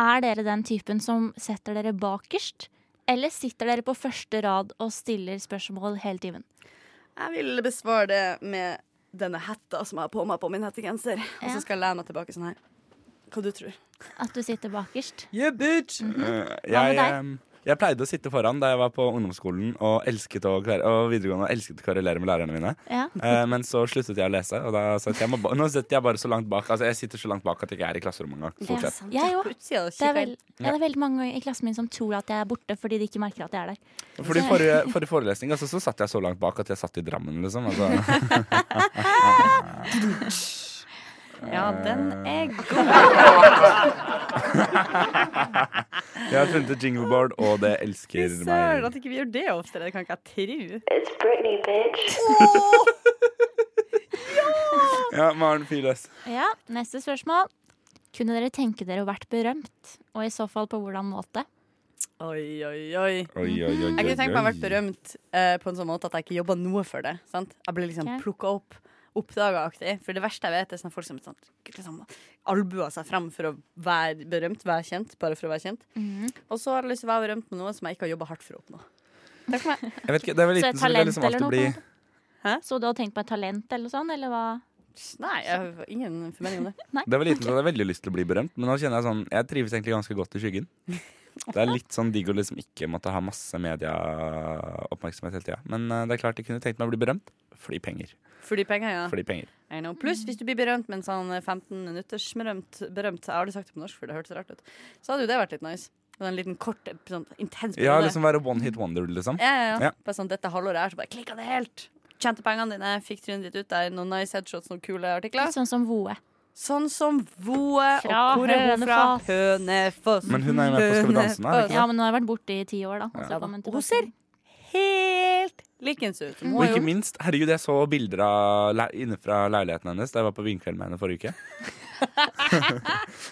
er dere den typen som setter dere bakerst? Eller sitter dere på første rad og stiller spørsmål hele timen?
Jeg vil besvare det med denne hetta som jeg har på meg på min hettegenser. Og
Ja.
så skal jeg lene meg tilbake sånn her. Hva du tror
At du sitter bakerst?
Yeah, bitch!
Eh,
Hva med
Jeg, em, jeg pleide å sitte foran da jeg var på ungdomsskolen og elsket å, klar- og videregående og elsket å korrelere med lærerne mine.
Ja.
Eh, men så sluttet jeg å lese, og da satt jeg, må ba- nå sitter jeg bare så langt bak. Altså, jeg sitter så langt bak at jeg ikke er i klasserommet engang. Stort
Ja.
sett.
Jeg òg.
På utsida og
Det er,
kikker
vel, ja, det er veldig mange i klassen min som tror at jeg er borte fordi de ikke merker at jeg er der.
Fordi forrige, forrige forelesning altså, så satt jeg så langt bak at jeg satt i Drammen, liksom. Altså.
inn. Ja, den
Ah.
er god.
Jeg har funnet et jingleboard, og det elsker
Søren,
meg.
at ikke vi gjør det oftere. Det kan ikke jeg tro.
Ja, Maren fyr løs.
Ja, Neste spørsmål. Kunne dere tenke dere å vært berømt, og i så fall på hvordan måte?
Oi, oi, oi.
Oi, oi, oi,
Jeg kunne tenkt meg å
oi.
vært berømt eh, på en sånn måte at jeg ikke jobba noe for det. Sant? Jeg ble liksom
Ok.
plukka opp, oppdaga-aktig. For det verste jeg vet, er sånne folk som sånn, liksom, albuer seg fram for å være berømt, være kjent, bare for å være kjent. Og så har jeg lyst til å være berømt med noe som jeg ikke har jobba hardt for å oppnå.
Jeg vet ikke, det er vel liten, så vil
Så et
jeg
talent
liksom
eller
alltid
noe?
bli
på en måte?
Hæ?
Så du hadde tenkt på et talent eller sånn, eller hva?
Nei, jeg har ingen formening om det.
Det var liten, så jeg hadde veldig lyst til å bli berømt, men nå kjenner jeg sånn Jeg trives egentlig ganske godt i skyggen. Det er litt sånn digg å liksom ikke måtte ha masse medieoppmerksomhet hele tida. Men eh, det er klart jeg kunne tenkt meg å bli berømt. Fordi penger.
For de pengene, ja.
Fordi penger.
I know. Pluss hvis du blir berømt med en sånn 15 minutters berømt, berømt Jeg har aldri sagt det på norsk, for det hørtes rart ut. Så hadde jo det vært litt nice. Med en liten kort, sånn intens
Ja,
periode.
liksom være one hit wonder, liksom.
Ja, ja,
Ja.
ja. Bare sånn, dette halvåret her, så bare klikka det helt. Tjente pengene dine, fikk trynet ditt ut der. Noen nice headshots, noen kule artikler.
Litt sånn som Voe.
Sånn som Voe, og
Fra
hvor er hun fra?
Hønefoss.
Hønefoss.
Men hun er jo med på Skal vi danse nå, er hun ikke
Ja, men hun har vært borte i ti år, da. og så
Ja,
kom hun
da.
tilbake.
Hun ser helt likens ut. Hun
Mm.
Og
har
ikke
jo-
minst, herregud, jeg så bilder av le inne fra leiligheten hennes da jeg var på vinkveld med henne forrige uke.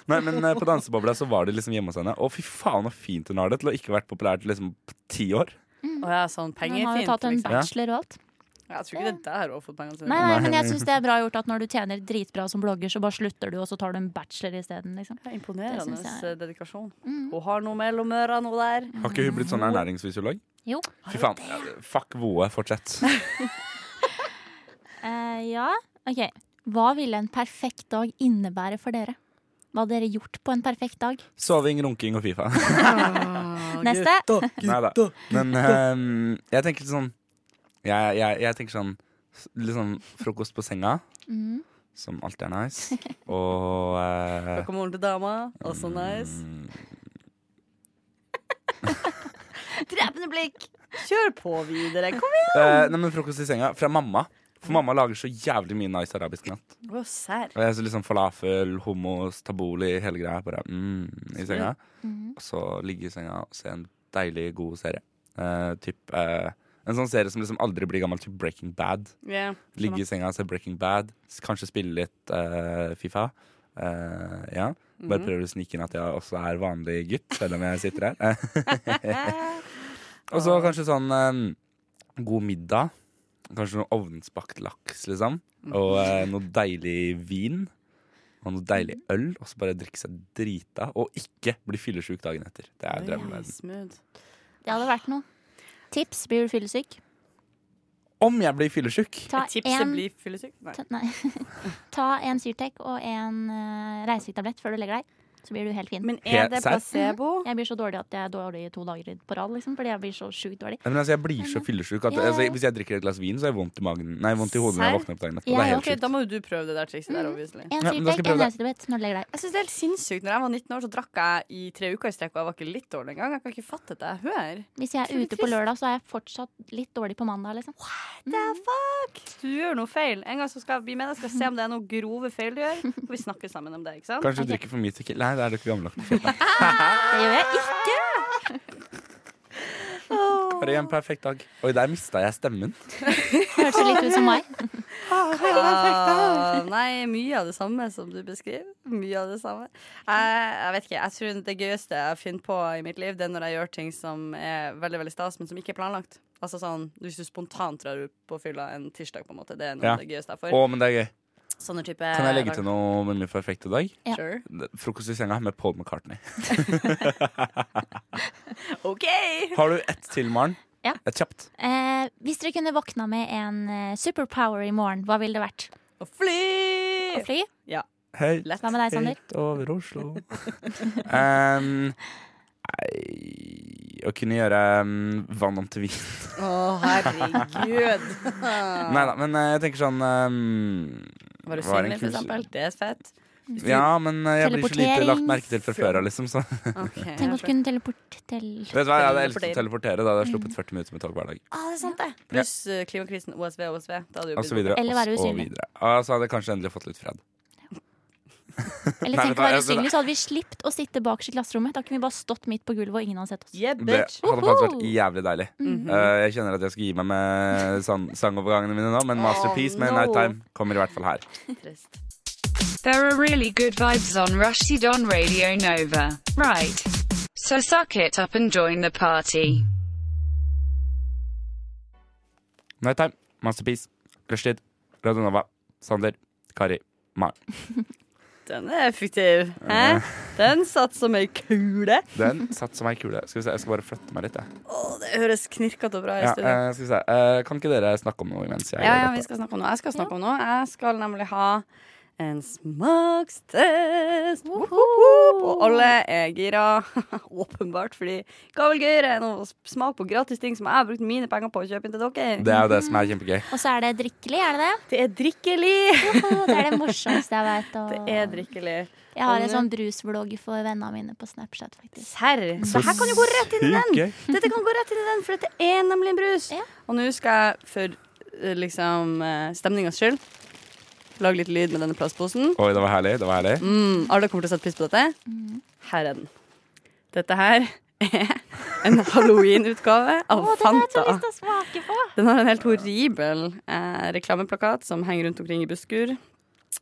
Nei, men eh, på dansebobla så var de liksom hjemme hos henne. Og fy faen så fint hun har det til å ikke ha vært populært liksom på ti år.
Å ja, sånn
Hun har jo
pengefint.
tatt en
Liksom.
Ja.
bachelor og alt.
Jeg tror ikke det er der hun har fått pengene sine.
Nei, nei, men jeg syns det er bra gjort at når du tjener dritbra som blogger, så bare slutter du, og så tar du en bachelor isteden, liksom.
Det er Imponerende
Det synes jeg.
eh, dedikasjon. Hun har noe mellom ørene, hun der.
Har ikke hun blitt sånn ernæringsfysiolog?
Jo.
Fy faen. eh, Fuck Voe, fortsett.
Eh, ja, OK. Hva ville en perfekt dag innebære for dere? Hva hadde dere gjort på en perfekt dag?
Soving, runking og Fifa.
Neste.
Neida. Men ehm, jeg tenker litt sånn jeg, jeg, jeg tenker sånn s- Litt sånn frokost på senga,
Mm.
som alltid er nice. Og eh, mm,
Guacamole til dama, også nice.
Drepende blikk!
Kjør på videre. Kom igjen!
eh, Nei, men frokost i senga fra mamma. For mamma lager så jævlig mye nice arabisk mat.
Å, serr.
Og jeg er så liksom Falafel, hummus, taboli, hele greia. Bare mm, i senga.
Mhm.
Og så ligge i senga og se en deilig, god serie. Eh, typ, eh, en sånn serie som liksom aldri blir gammel, typ Breaking Bad.
Ja,
Ligge i senga og se Breaking Bad. s- Kanskje spille litt eh, Fifa. Eh, ja. Bare prøver å snike inn at jeg også er vanlig gutt, selv om jeg sitter her. Eh. og så kanskje sånn eh, god middag. Kanskje noe ovnsbakt laks, liksom. Og eh, noe deilig vin. Og noe deilig øl. Og så bare drikke seg drita, og ikke bli fyllesyk dagen etter. Det er drømmen.
Oi,
min.
smooth.
Det hadde vært noe. Tips blir du fyllesyk.
Om jeg blir fyllesyk!
Ta
Tipset
en,
blir fyllesyk. Nei.
ta, nei. ta en Syrtec og en uh, reisektablett før du legger deg. Så blir du helt fin.
Men
Helt
er det
serr?
placebo?
Jeg blir så dårlig at jeg er dårlig i to dager på rad, liksom, fordi jeg blir så sjukt dårlig.
Nei, men altså, jeg blir så fyllesyk at
Ja, ja.
altså, hvis jeg drikker et glass vin, så har jeg vondt i magen Nei, vondt i hodet når jeg
Serr?
våkner opp dagen etterpå.
Ja,
det er helt
Ok, Da
sjukt.
må jo du prøve det der trikset der, obviously.
En
Ja, men da skal jeg
Syrtec,
prøve
en
det.
reisektablett når du legger deg.
Jeg synes det er helt sinnssykt. Når jeg var 19 år, så drakk jeg i tre uker i strekk, og jeg var ikke litt dårlig engang. Jeg kan ikke fatte det. Hør.
Hvis jeg er
Utrolig
ute på
trist.
lørdag, så er jeg fortsatt litt dårlig på mandag, liksom.
Du gjør noe feil. En gang så skal jeg bli med deg, skal jeg se om det er noen grove feil du gjør. Og vi snakker sammen om det, ikke sant?
Kanskje du drikker for mye tequila. Nei, det er du ikke gammel nok til.
Det gjør jeg ikke.
Bare en perfekt dag. Oi, der mista jeg stemmen.
Hørtes jo litt ut som meg.
Ah, nei, mye av det samme som du beskriver. Mye av det samme. Jeg, jeg vet ikke, jeg tror det gøyeste jeg finner på i mitt liv, det er når jeg gjør ting som er veldig veldig stas, men som ikke er planlagt. Altså sånn, Hvis du spontant drar ut på fylla en tirsdag, på en måte. Det er noe
Ja.
av det gøyeste jeg får.
Å, men det er gøy.
Sånne type
Kan jeg legge til noe med min perfekte dag?
Ja.
Sure.
Frokost i senga med Paul McCartney.
OK!
Har du ett til, Maren?
Ja.
Et kjapt.
Eh, hvis dere kunne våkna med en eh, superpower i morgen, hva ville det vært?
Å fly!
Å fly?
Høyt,
Lett.
Hva med deg, Sander?
høyt over Oslo. Um, nei Å kunne gjøre um, vann om til vin.
Å, herregud.
Nei da, men eh, jeg tenker sånn um,
Var
Var en
du singel, for
kul-
eksempel? Det er fett.
Ja, men eh, jeg blir så lite
Teleportering.
lagt merke til fra før av, liksom. Så.
Okay,
Tenk å kunne teleporte til
Vet du hva, jeg hadde elsket å teleportere. Da hadde jeg
Mm.
sluppet 40 minutter med tog hver dag.
ah, det er sant, det. Pluss eh, klimakrisen, OSV, OSV. Da hadde du
Og så Altså videre.
Eller
og
være
så
usynlig.
videre. Og så hadde jeg kanskje endelig fått litt fred. Nei, vet du
Eller tenk å være
hva, jeg-
usynlig, så hadde vi sluppet å sitte bakerst i klasserommet. Da kunne vi bare stått midt på gulvet, og ingen hadde sett oss.
Yeah,
Det
bitch. Mhm.
hadde faktisk vært
Woohoo!
jævlig deilig. Eh, jeg kjenner at jeg skal gi meg med sang sangovergangene mine nå, men Masterpiece med
no.
Night Time kommer i hvert fall her.
Trist.
There are really good vibes on Rushdie on Radio Nova. Right. So suck it up and join the party.
Night Time, Masterpiece, Rushtid, Radio Nova, Sander, Kari, Maren.
Den er effektiv. Hæ? Den satt som ei kule.
Den satt som ei kule. Skal vi se, jeg skal bare flytte meg litt, jeg.
Å, det høres knirkete og bra i
Ja,
studio.
eh, skal vi se. Eh, kan ikke dere snakke om noe imens jeg
Ja, ja,
gjør
vi
dette?
skal snakke om noe. Jeg skal snakke om noe. Jeg skal nemlig ha en smakstest. Woop, woop, woop. Og alle er gira. Åpenbart, fordi hva er vel gøyere enn å smake på gratis ting som jeg har brukt mine penger på å kjøpe inn til dere?
Det er jo det som er kjempegøy.
Og så er det drikkelig, er det det?
Det er drikkelig.
Å, det er det morsomste jeg vet. Og...
Det er drikkelig.
Jeg har en sånn brusvlogg for vennene mine på Snapchat, faktisk.
Serr. Det her kan jo gå rett inn i den.
Sykt gøy.
Dette kan gå rett inn i den, for dette er nemlig en brus.
Ja.
Og nå skal jeg for eh, liksom eh, stemningas skyld lage litt lyd med denne plastposen.
Oi, det var herlig. Det var herlig.
Mm, alle kommer til å sette pris på dette.
Mm.
Her er den. Dette her er en halloween-utgave av
Å, den har jeg så
Fanta.
lyst til å smake på!
Den har en helt horribel eh, reklameplakat som henger rundt omkring i busskur.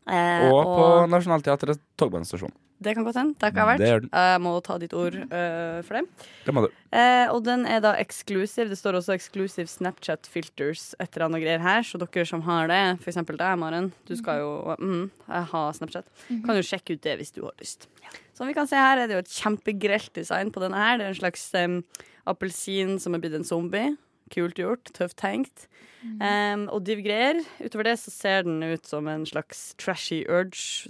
Eh,
Og på Nationaltheatret togbanestasjon.
det kan godt hende. Det har ikke jeg
Det er
vært.
den.
Jeg må ta ditt ord eh, for det.
Det må du.
Eh, og den er da eksklusiv. Det står også eksklusiv Snapchat filters et eller annet greier her. Så dere som har det, f.eks. deg, Maren, du skal jo mm, ha Snapchat, kan jo sjekke ut det hvis du har lyst. Som vi kan se her, er det jo et kjempegrelt design på denne her. Det er en slags eh, appelsin som er blitt en zombie. Kult gjort, tøft tenkt. Um, og div greier. Utover det så ser den ut som en slags trashy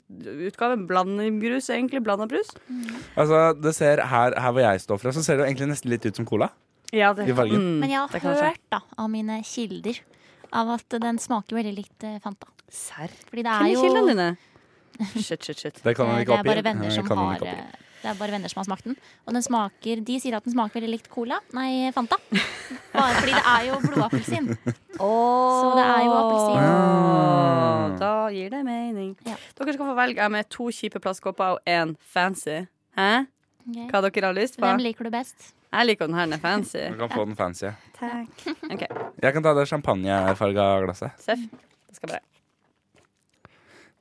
urge-utgave. Blandebrus, egentlig. Blanda brus.
Altså, det ser her, her hvor jeg står fra, så ser det jo egentlig nesten litt ut som cola.
Ja, det,
I fargen.
Mm,
Men jeg
det
har
kan skje.
hørt da, av mine kilder av at den smaker veldig likt eh, Fanta.
Serr?
Fordi det
Hvem
er
er
jo
kildene dine? Shit, shit, shit.
Det kan man
eh,
ikke
det er
oppgi.
bare venner
Eh,
som
kan man
har
ikke oppgi.
eh, det er bare venner som har smakt den. Og den smaker, de sier at den smaker veldig likt cola. Nei, Fanta. Bare fordi det er jo blodappelsin. Så det er jo appelsin.
Ah. Åh, Da gir det mening.
Ja.
Dere skal få velge Jeg er med to kjipe plastkopper og én fancy. Hæ?
Ok.
Hva dere har lyst på?
Hvem liker du best?
Jeg liker den her, den er fancy.
Du kan få den fancy.
Takk. OK,
Jeg kan ta det champagnefarga glasset.
Seff. Det skal bare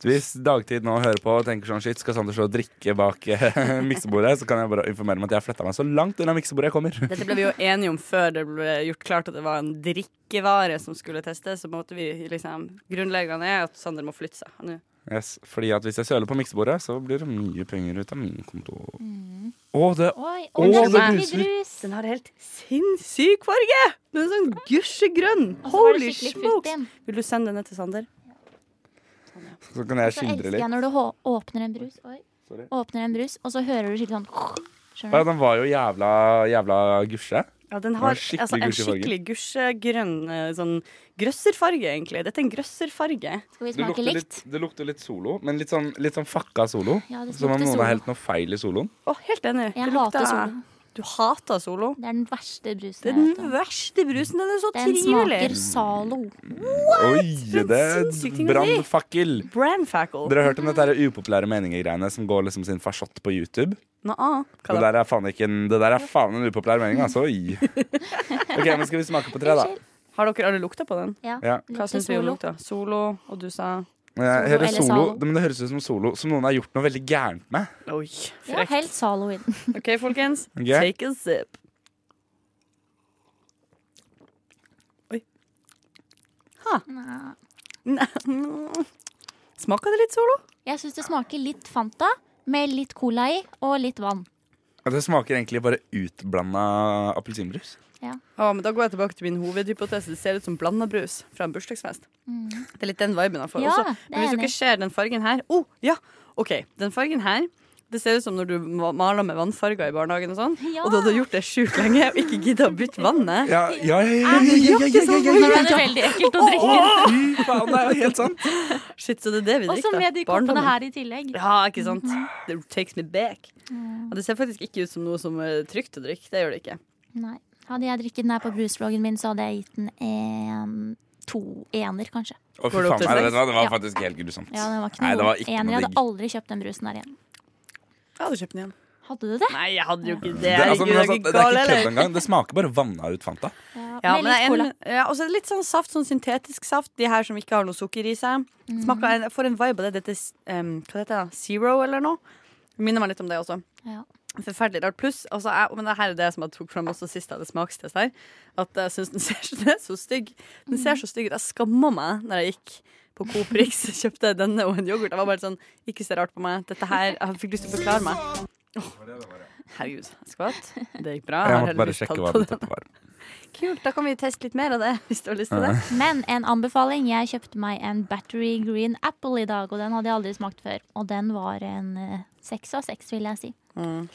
Hvis dagtid nå hører på og tenker sånn shit, skal Sander slå og drikke bak eh, miksebordet, så kan jeg bare informere om at jeg har flytta meg så langt unna miksebordet jeg kommer.
Dette ble vi jo enige om før det ble gjort klart at det var en drikkevare som skulle testes. Så måtte vi liksom Grunnleggende er at Sander må flytte seg. Han er-
Yes, fordi at hvis jeg søler på miksebordet, så blir det mye penger ut av min konto. Å,
Mm.
det
Oi,
Åh,
oi, det
det
er
bruser.
mye brus!
Den har helt sinnssyk farge! Den er sånn gusjegrønn.
Og så var det
Holy
skikkelig frukt i
smokes!
den.
Vil du sende den ned til Sander?
Så kan jeg
Så
skildre
elsker jeg
litt.
når du hå- åpner en brus, oi.
Sorry.
Åpner en brus, og så hører du skikkelig sånn
Ja,
Skjønner du?
den var jo jævla, jævla gusje.
Ja, den
har
har
skikkelig
altså, en
gusjefarge.
skikkelig gusjegrønn eh, sånn grøsserfarge, egentlig. Dette er en grøsserfarge.
Skal vi
Det
smake
lukter, litt,
litt?
det lukter litt solo, men litt sånn, litt sånn fucka solo.
Ja, det
Som om
lukter
noen
solo.
har helt noe feil i soloen.
Å, helt enig.
Jeg
Det lukter-
hater solo.
Du hater solo?
Det er den verste brusen
Det er
jeg vet
den
om.
verste brusen. Den er så
Den smaker
trivelig.
Zalo.
Oi,
en
det
sinnssyk ting å si.
brannfakkel!
Brandfackle.
Dere har hørt om dette her upopulære meninger-greiene som går liksom sin farsott på YouTube?
Nå, ah, hva
Det
da?
der er faen ikke en, det der er faen en upopulær mening, altså. Oi. OK, men skal vi smake på tre, da?
Har dere alle lukta på den?
Ja.
Ja.
Hva
Lukter
syns vi om
solo.
lukta? Solo, og du sa
Men jeg
Solo
hører
eller
solo,
Zalo?
det, men det høres ut som solo som noen har gjort noe veldig gærent med.
Oi,
Ja,
frekt.
helt Zalo i den.
OK, folkens.
Ok.
Take a sip. Oi. Ha. Nei. Smaker det litt solo?
Jeg syns det smaker litt Fanta med litt cola i og litt vann.
Og det smaker egentlig bare utblanda appelsinbrus.
Ja, men Da går jeg tilbake til min hovedhypotese. Det ser ut som blanda brus fra en bursdagsfest. Det er litt den viben jeg får.
Mm. Ja,
også.
det
Men
er
hvis
enig.
dere ser den fargen her oh, ja, ok, den fargen her det ser ut som når du ma- maler med vannfarger i barnehagen og sånn.
Ja.
Og da du har gjort det sjukt lenge og ikke gidda å bytte vannet.
Ja, ja, ja, ja, ja, ja, ja, ja, ja,
Nå
ja,
er det veldig ekkelt å drikke.
Fy faen, det er jo helt sant.
Shit, så det er det vi drikker.
Også
da.
med de koppene
Barndommen.
her Mm. i tillegg.
Ja, ikke sant? It takes me back.
Mm.
Ja, det ser faktisk ikke ut som noe som er trygt å drikke. Det gjør det ikke.
Nei. Hadde jeg drukket den her på brusvloggen min, så hadde jeg gitt den en to ener, kanskje.
Å, fy
Går det
faen,
opp til
nei, det,
seks?
var- det var
Ja.
faktisk helt grusomt.
Ja, den var ikke
Nei, det
noe
var ikke
ener.
noe
Jeg
digg.
hadde aldri kjøpt den brusen der igjen.
Jeg hadde kjøpt den igjen.
Hadde du det?
Nei, jeg hadde jo ikke det.
Det, altså, men,
Herregud,
altså,
jeg
det er
gal,
ikke
eller?
kødd engang. Det smaker bare vanna ut Fanta.
Ja, men
med
det
litt
er
cola.
en, ja, og så er det litt sånn saft, sånn syntetisk saft. De her som ikke har noe sukker i seg. Smaker, en- jeg får en vibe av det. Dette, s- em, hva heter det? Zero eller noe? Minner meg litt om det også.
Ja.
Forferdelig rart. Pluss, altså, jeg, men det her er det som jeg tok fram også sist jeg hadde smakstest her, at jeg syns den ser så, den er så stygg Den ser så stygg ut. Jeg skamma meg når jeg gikk på Coop Rix og kjøpte denne og en yoghurt. Jeg var bare sånn Ikke se rart på meg. Dette her Jeg fikk lyst til å forklare meg. Herregud. Skvatt. Det gikk bra.
Jeg
har
måtte bare
heldigvis tatt
sjekke hva
på
det
den.
var.
Kult, da kan vi teste litt mer av det hvis du har lyst til det.
Men en anbefaling. Jeg kjøpte meg en Battery Green Apple i dag, og den hadde jeg aldri smakt før. Og den var en eh, seks av seks, vil jeg si. Veldig,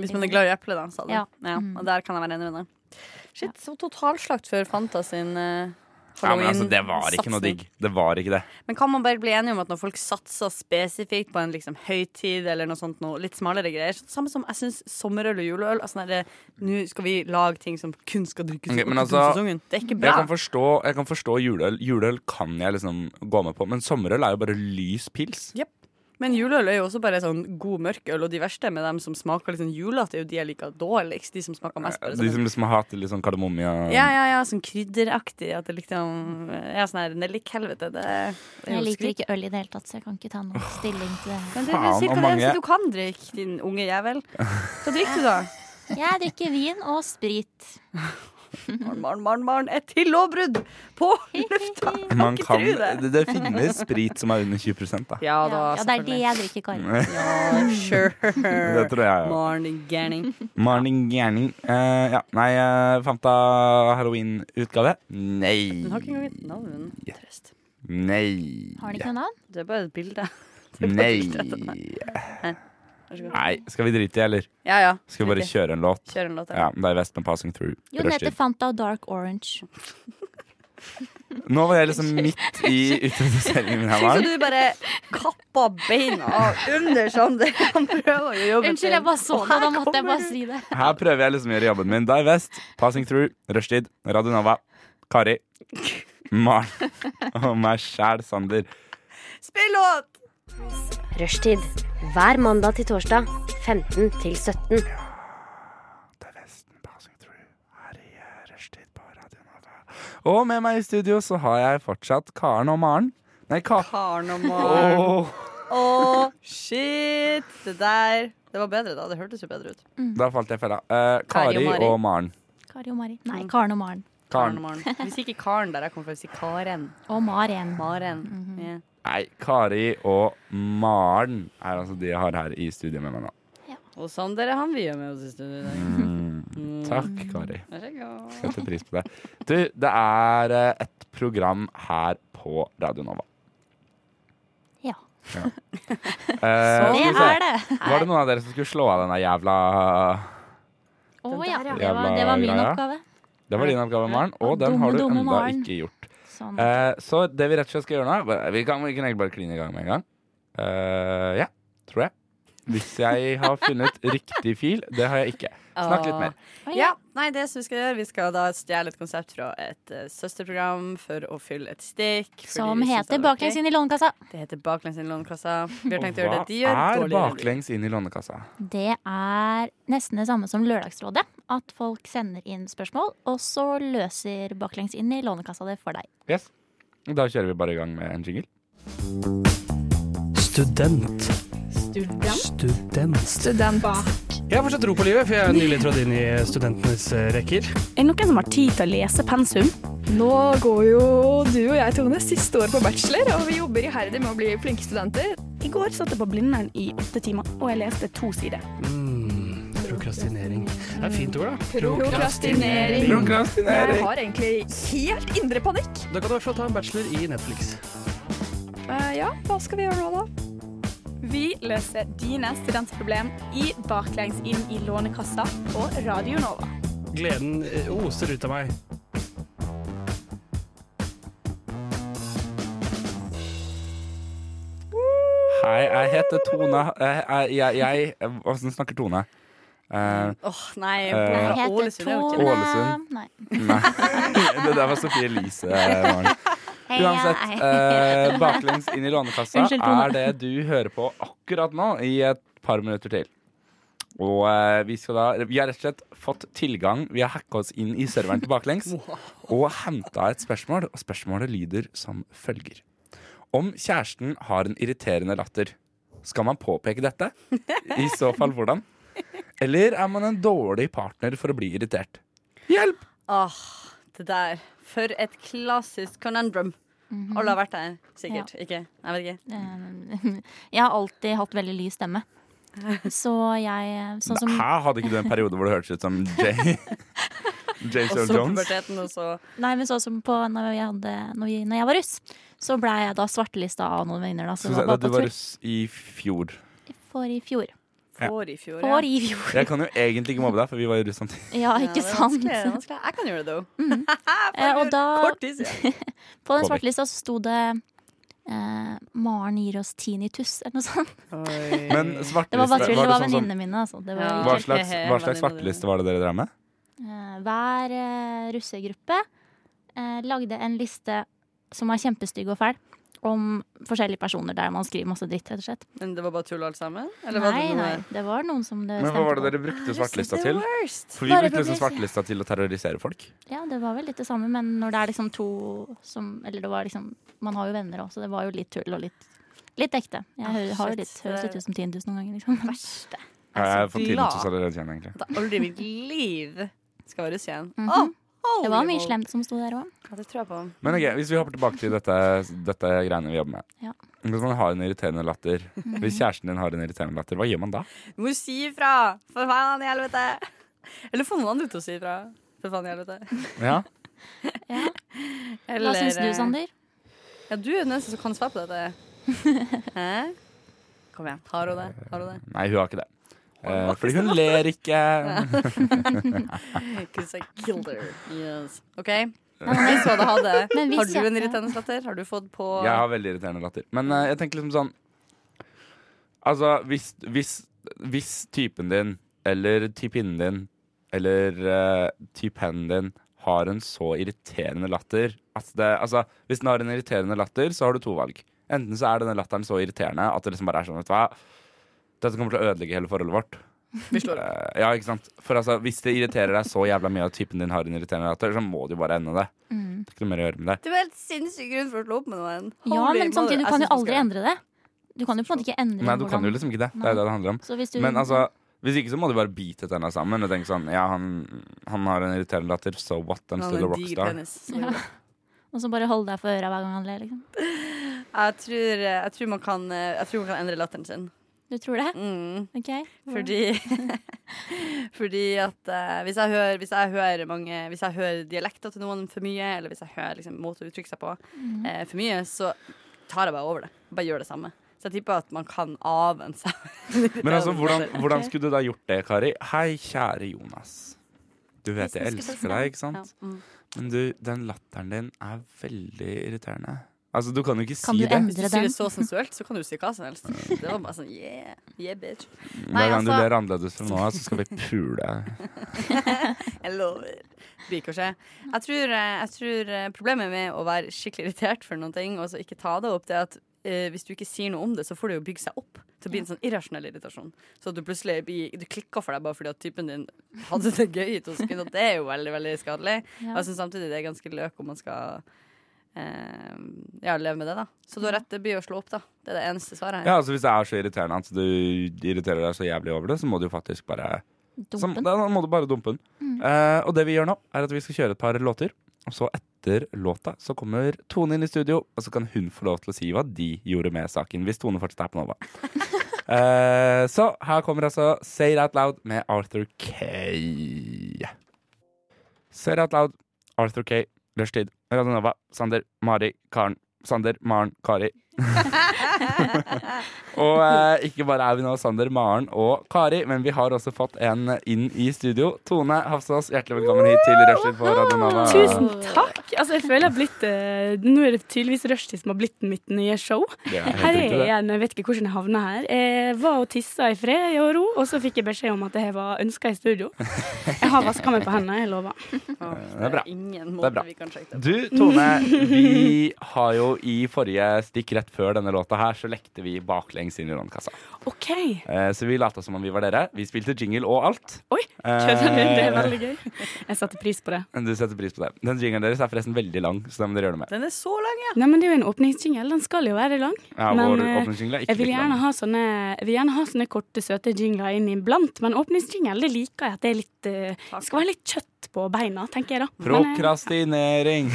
Mm. Hvis man er
god.
glad i eple, da, sa du. Ja.
Ja.
og der kan jeg være enig med deg. Shit, så totalslakt før Fanta sin eh,
Ja, men altså, det var ikke noe
Halloween-satsing.
digg. Det var ikke det.
Men kan man bare bli enige om at når folk satser spesifikt på en liksom, høytid eller noe sånt, noe litt smalere greier så- Samme som jeg syns sommerøl og juleøl altså, nei, det- Nå skal vi lage ting som kun skal drikkes
Ok,
okay,
men altså,
sesongen. Det er ikke
Jeg
bra.
kan forstå, jeg kan forstå juleøl. Juleøl kan jeg liksom gå med på, men sommerøl er jo bare lys pils.
Jep. Men juleøl er jo også bare sånn god mørkøl, og de verste med dem som smaker litt sånn julete, er jo de jeg liker dårligst. De som smaker mest bare
De
sånn
som liksom hater litt sånn kardemomme og
Ja, ja, ja, sånn krydderaktig. At det liksom Ja, sånn her nellikhelvete. Det, det er jo
Jeg liker
skryt.
ikke øl i det hele tatt, så jeg kan ikke ta noen stilling til det.
Men det er
Faen,
cirka
og
det
mange-
eneste du kan drikke, din unge jævel. Hva drikker du, da?
Jeg drikker vin og sprit.
Morn, morn, morn, morn. Et tillovbrudd på lufta!
Man
ikke
kan,
tro det.
det, det finnes sprit som er under 20 da.
Ja da,
Ja, det er det
selvfølgelig.
jeg drikker,
Mm.
Kari.
Ja, sure.
Det tror jeg, ja.
Morning, gærning.
Morning, gjerning. Eh, ja. Nei, eh, Fanta Halloween-utgave? Nei.
Den har ikke engang et navn. Trøst.
Nei.
Har den ikke noe navn?
Det er bare et bilde.
Nei.
Vær så god.
Nei. Skal vi drite i, eller?
Ja ja.
Skal vi bare
Riktig.
kjøre en låt?
Kjør en låt.
Ja, det er Vestman Passing Through.
Jo, den heter
Rushtid.
Fanta Dark Orange.
Nå var jeg liksom midt i introduseringen her.
Så
Maren.
du bare kappa beina under sånn, Sander. Han prøver jo å jobbe
Unnskyld, jeg bare så det. Da måtte jeg bare si det.
Her prøver jeg liksom å gjøre jobben min. Die West, Passing Through, Rushtid, Radio Nova, Kari, Maren og meg sjæl, Sander.
Spill låt!
Rushtid. Hver mandag til torsdag 15 til 17.
Det er Vesten Passing Through her i eh, Rushtid på Radio Nova. Og med meg i studio så har jeg fortsatt Karen og Maren. Nei, Ka...
Karnemal.
Åh,
Å, shit! Det der Det var bedre da. Det hørtes jo bedre ut.
da falt jeg i fella. Eh,
Kari og
Kari
Mari.
og Maren.
Kari og Mari.
Mm.
Nei, Karen og Maren.
Karen.
Karnemal. Vi sier ikke Karen der jeg kommer fra, vi sier Karen.
Og Maren.
Maren.
Mhm.
Ja.
Nei, Kari og Maren er altså de jeg har her i studio med meg nå.
Og Sander er han vi er med oss i studio i dag.
Mm. Takk, Kari.
Vær så god.
Setter pris på det. Du, det er eh, et program her på Radio Nova.
Ja.
Eh,
Det
skal vi se.
er det.
Var det noen av dere som skulle slå av denne jævla
Å
der,
ja.
ja.
Det var, det var min
Jævla greia.
oppgave.
Det var din oppgave, Maren, og den
Dumme,
har du
dumme
enda
Maren.
ikke gjort.
Sånn.
Eh, så det vi rett og slett skal gjøre nå er bare- Vi kan, vi kan egentlig bare kline i gang med en gang. Eh, ja, tror jeg. Hvis jeg har funnet riktig fil. Det har jeg ikke. Snakk litt mer.
Å,
Ja, nei, det som vi skal gjøre Vi skal da stjele et konsept fra et eh, søsterprogram for å fylle et stikk. fordi
Som
vi synes
heter
det var
Baklengs
gøy.
inn i lånekassa.
Det heter Baklengs inn i Lånekassa. Vi har
Og
tenkt å gjøre
hva
det de gjør.
er
dårligere enn vi.
baklengs inn i lånekassa?
Det er nesten det samme som Lørdagsrådet. At folk sender inn spørsmål, og så løser Baklengs inn i Lånekassa det for deg.
Yes. Da kjører vi bare i gang med en jingle.
Student. Student. Jeg har fortsatt tro på livet, for jeg er nylig trådt inn i studentenes eh, rekker.
Er det noen som har tid til å lese pensum?
Nå går jo du og jeg, Tone, siste år på bachelor, og vi jobber iherdig med å bli flinke studenter.
I går satt jeg på Blindern i åtte timer, og jeg leste to sider.
Mm, prokrastinering. Det er et fint ord, da.
Prokrastinering. Jeg har egentlig helt indre panikk.
Da kan du i hvert fall ta en bachelor i Netflix.
Eh, ja, hva skal vi gjøre nå, da?
Vi løser dine studentproblem i Baklengs inn i Lånekassa på Radio Nova.
Gleden eh, oser ut av meg.
Hei, jeg heter Tone. Eh, Jeg, jeg, jeg, jeg Åssen snakker Tone? Eh,
Åh, nei.
Eh,
Jeg
fra
heter
Ålesund er jo ikke-
Tone
Ålesund.
Nei.
nei. Det der var Sofie Elise. eh, Maren.
Hei,
Uansett,
hei.
eh, baklengs inn i lånekassa
Unnskyld, Tone.
er det du hører på akkurat nå i et par minutter til. Og eh, vi skal da Vi har rett og slett fått tilgang. Vi har hacka oss inn i serveren til baklengs og henta et spørsmål, og spørsmålet lyder som følger. Om kjæresten har en irriterende latter, skal man påpeke dette? I så fall hvordan? Eller er man en dårlig partner for å bli irritert? Hjelp!
Åh, det der. For et klassisk conundrum.
Mhm.
Alle har vært der, sikkert. Ikke? Jeg vet ikke.
Eh, Jeg har alltid hatt veldig lys stemme. Så jeg Sånn som
Hæ, hadde ikke du en periode hvor det hørtes ut som Jay? James
Og
Earl
så
Jones?
puberteten, og så
Nei, men sånn som på når jeg, hadde, når vi- når jeg var russ, så blei jeg da svartelista av noen venner. Da, som
Skal vi se, Da
var bare
du
på
var
tur.
russ i fjor.
For i fjor.
får i fjor.
For i fjor.
Jeg kan jo egentlig ikke mobbe deg, for vi var jo russ samtidig.
Ja,
Ja,
ikke
det er
sant?
vanskelig, det er vanskelig. Jeg kan gjøre det, though.
Eh, og da
Kort tid siden.
På den
Påvirk.
svarte lista så sto det eh, 'Maren gir oss tinnitus', eller noe sånt.
Men
Det var
svarteliste
bare tull. Det
var det sånn
var
som,
venninnene mine. Altså. Det var
Ja.
hva
ikke helt-
slags, hva slags
Venninne dine.
svarteliste var det dere drev med?
eh, Hver eh, russegruppe eh, lagde en liste som var kjempestygg og fæl, om forskjellige personer der man skriver masse dritt, rett og slett.
Men det var bare tull alt sammen? Eller var
Nei,
det noe
nei, det var noen som det
Men hva var det
stemte på.
dere brukte svartelista til? For vi
Bare
brukte liksom
publisere.
svartelista til å terrorisere folk.
Ja, det var vel litt det samme, men når det er liksom to som Eller det var liksom Man har jo venner òg, så det var jo litt tull og litt Litt ekte. Jeg hører, har jo
Ah, shit,
litt,
det
høres
er-
litt ut som 10 000 noen ganger, liksom.
verste?
Jeg har fått
glad.
tinnitus allerede igjen, egentlig.
At jeg aldri i mitt liv skal være russ igjen. Å,
Mhm. Det var mye slemt som sto der òg.
Ja, det tror jeg på.
Men ok, hvis vi hopper tilbake til dette, dette greiene vi jobber med.
Ja.
Hvis man har en irriterende latter, hvis kjæresten din har en irriterende latter, hva gjør man da?
Du må si ifra! For faen i helvete! Eller få noen andre til å si ifra. For faen i helvete.
Ja.
Hva syns du,
eh,
Sander?
Ja, du er den eneste som kan svare på dette. Hæ? Kom igjen. Har hun det? Har hun det?
Nei, hun har ikke det. Eh, fordi hun ler ikke.
Because I killed her. Yes. OK. Hvis du hadde hatt det,
Men hvis
har du
jeg-
en irriterende latter? Har du fått på
Jeg har veldig irriterende latter. Men eh, jeg tenker liksom sånn Altså, hvis, hvis, hvis typen din eller typinnen din eller uh, typennen din har en så irriterende latter at det Altså, hvis den har en irriterende latter, så har du to valg. Enten så er denne latteren så irriterende at det liksom bare er sånn, vet du hva Dette kommer til å ødelegge hele forholdet vårt.
Vi slår opp.
Eh, ja, ikke sant? For altså, hvis det irriterer deg så jævla mye at typen din har en irriterende latter, så må du jo bare ende det. Det er ikke noe mer å gjøre med det.
Det var helt sinnssyk grunn for å slå opp med noen.
Ja,
Holy
men samtidig,
mother,
du
jeg
kan
synes
jo
man
aldri
altså skal-
endre det. Du kan jo på en måte ikke endre
Nei, du kan
hvordan-
jo liksom ikke det. Det er jo det det handler om.
Så hvis du
Men altså, hvis ikke så må du bare bite tenna sammen og tenke sånn Ja, han, han har en irriterende latter, so what? I'm
Han
still a
har en diger
rockstar.
penis, så det er bra.
Og så bare holde deg for øra hver gang han ler, liksom.
Jeg tror, eh, jeg, tror man kan, jeg tror man kan endre latteren sin.
Du tror det?
Mm.
OK.
Fordi, fordi at eh, hvis, jeg hører, hvis jeg hører mange Hvis jeg hører dialekter til noen for mye, eller hvis jeg hører liksom, måter å uttrykke seg på eh, for mye, så tar jeg bare over det. Bare gjør det samme. Så jeg tipper at man kan avvenne seg.
Men altså, hvordan, hvordan skulle du da gjort det, Kari? Hei, kjære Jonas. Du vet jeg elsker deg, ikke
Ja,
sant?
mm.
Men du, den latteren din er veldig irriterende. Altså, du kan jo ikke
Kan
si
du
det.
endre
Hvis du
den?
sier det så sensuelt, så kan du si hva som helst. Det var bare sånn yeah, yeah, bitch. Nei,
Hver gang du
altså-
ler annerledes fra nå av, så skal vi pule.
Jeg lover. Det Blir ikke å skje. Jeg tror, eh, jeg tror eh, problemet med å være skikkelig irritert for noen ting, og så ikke ta det opp, det er at eh, hvis du ikke sier noe om det, så får det jo bygge seg opp. Så det blir en sånn irrasjonell irritasjon. Så at du plutselig blir, du klikker for deg bare fordi at typen din hadde det gøy i to sekunder. Det er jo veldig, veldig skadelig. Og jeg syns samtidig det er ganske løk om man skal eh, ja, leve med det, da. Så du har rett, det blir å slå opp, da. Det er det eneste svaret her.
Ja, altså Hvis det er så irriterende at du irriterer deg så jævlig over det, så må du jo faktisk bare så,
Dumpen.
Da må du bare dumpe den. Eh, og det vi gjør nå, er at vi skal kjøre et par låter. Og så etter låta så kommer Tone inn i studio, og så kan hun få lov til å si hva de gjorde med saken. Hvis Tone fortsatt er på Nova. Eh, så her kommer altså Say It Out Loud med Arthur K. Say It Out Loud, Arthur K. Rushtid, Radio Nova, Sander, Mari, Karen. Sander, Maren, Kari. og eh, ikke bare er vi nå Sander, Maren og Kari, men vi har også fått en inn i studio. Tone Hafsås, hjertelig velkommen hit til Rushtid på Radio Nova.
Tusen takk. Altså, jeg føler jeg har blitt eh, Nå er det tydeligvis Rushdie som har blitt mitt nye show.
Det er
Her
helt
er jeg
riktig, det.
igjen, jeg vet ikke hvordan jeg havna her. Jeg var og tissa i fred jeg og ro, og så fikk jeg beskjed om at jeg var ønska i studio. Jeg har vaska meg på hendene, jeg lover.
Åh,
det er bra.
ingen
Det er bra.
måte vi kan sjekke det på.
Du, Tone, vi har jo i forrige stikk rett før denne låta her, så lekte vi baklengs inn i lånekassa.
OK.
Eh, så vi lata som om vi var dere. Vi spilte jingle og alt.
Oi, Kødder du? Det er veldig gøy. Jeg satte pris på det.
Eh, du setter pris på det. Den jinglen deres er forresten veldig lang, så den må dere gjøre noe med.
Den er så lang, ja!
Nei, men Det er jo en åpningsjingle. Den skal jo være lang.
Ja,
Men,
vår
eh,
åpningsjingle er ikke
Jeg vil
like lang.
gjerne ha sånne, jeg vil gjerne ha sånne korte, søte jingler inn iblant. Men åpningsjingle det liker jeg at det er litt eh, skal være litt kjøtt på beina, tenker jeg da. Men, eh,
Prokrastinering.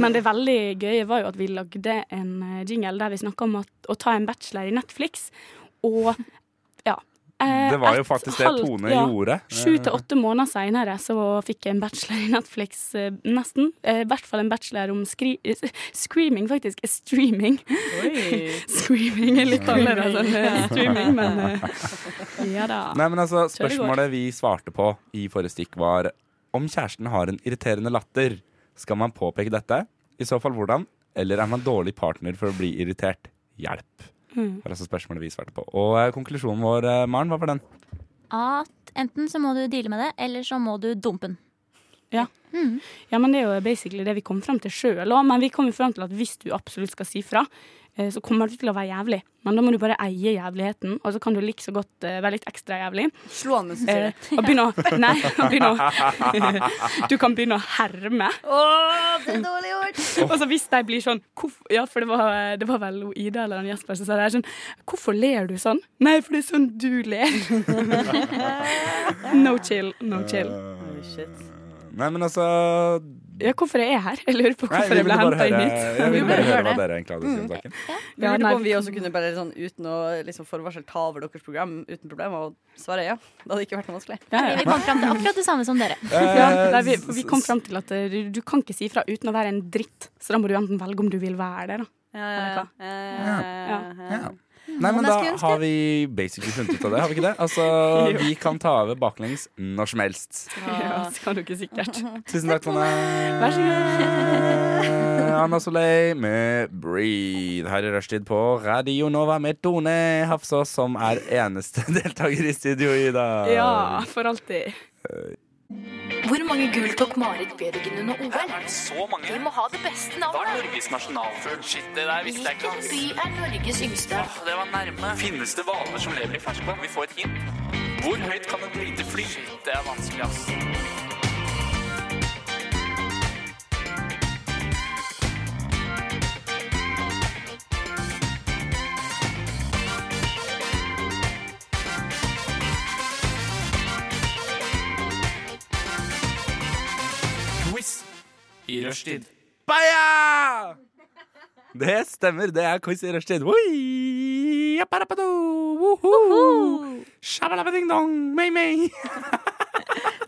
men det veldig gøye var jo at vi lagde en eh, jingle der vi snakka om at, å ta en bachelor i Netflix. Og ja. eh,
Det var jo
et
faktisk det
halvt-
Tone
ja,
gjorde.
Sju til åtte måneder seinere så fikk jeg en bachelor i Netflix, eh, nesten. Eh, I hvert fall en bachelor om skri eh, screaming, faktisk. Eh, Streaming. Screaming er litt annerledes enn eh, streaming, men eh, ja da.
Nei, men altså,
Kjør i går.
Spørsmålet vi svarte på i forrige stikk, var om kjæresten har en irriterende latter. Skal man påpeke dette? I så fall hvordan? Eller er man dårlig partner for å bli irritert? Hjelp.
Mm.
Det var altså spørsmålet vi svarte på. Og eh, konklusjonen vår, eh, Maren, hva var den?
At enten så må du deale med det, eller så må du dumpe den.
Ja, men Det er jo basically det vi kom fram til sjøl òg, men vi kom jo fram til at hvis du absolutt skal si fra, eh, så kommer du til å være jævlig. Men da må du bare eie jævligheten, og så kan du like så godt eh, være litt ekstra jævlig.
Slå han mens du sier
Eh,
det.
og begynne å Nei, og begynne å Du kan begynne å herme.
Åh, det er dårlig gjort!
Og så hvis de blir sånn hvorf- Ja, for det var, eh, det var vel hun Ida eller han Jesper som sa det her sånn Hvorfor ler du sånn? Nei, for det er sånn
Eh.
Eh,
du ler. no chill, no chill.
Shit.
Nei, men altså
Ja, hvorfor jeg er her? Jeg lurer på
nei,
hvorfor jeg ble
bare
henta inn
høre,
hit.
jeg vil
Vi
bare
burde
høre
gjøre
hva
det.
dere egentlig hadde å si
Mm.
om saken.
Vi
Ja,
lurte
nei,
på om vi også kunne bare sånn uten å liksom forvarsel ta over deres program uten problem, og svare ja. Det hadde ikke vært noe vanskelig.
Ja,
Vi kom fram til akkurat det samme som dere.
Eh,
Ja, nei, vi, vi kom fram til at eh, du kan ikke si fra uten å være en dritt, så da må du enten velge om du vil være det, da.
Ja, Eh, ja, ja, ja.
Ja. Nei, men
Hvordan
da
skulle jeg ønske
har vi basically funnet ut av det, har vi ikke det? Altså, vi kan ta over baklengs når som helst.
Ja, skal du ikke sikkert.
Tusen takk, Tonje.
Vær så
god. Anna Soleil med 'Breathe' her i rushtid på Radio Nova med Tone Hafsås, som er eneste deltaker i studio i dag.
Ja, for alltid.
Hvor mange gull tok Marit Bjørgen under OL? Er det så mange? Vi må ha det beste navnet.
Norges nasjonalfugl? Shit, det der visste jeg
Hvilken by er Norges yngste?
Det var nærme. Finnes det hvaler som lever i ferskvann? Vi får et hint. Hvor høyt kan et lite fly? Det er vanskelig, ass. Quiz i rushtid.
Baia! Det stemmer. Det er quiz i rushtid. Oi, apparapado, woho! Shabalabading-dong, mei-mei.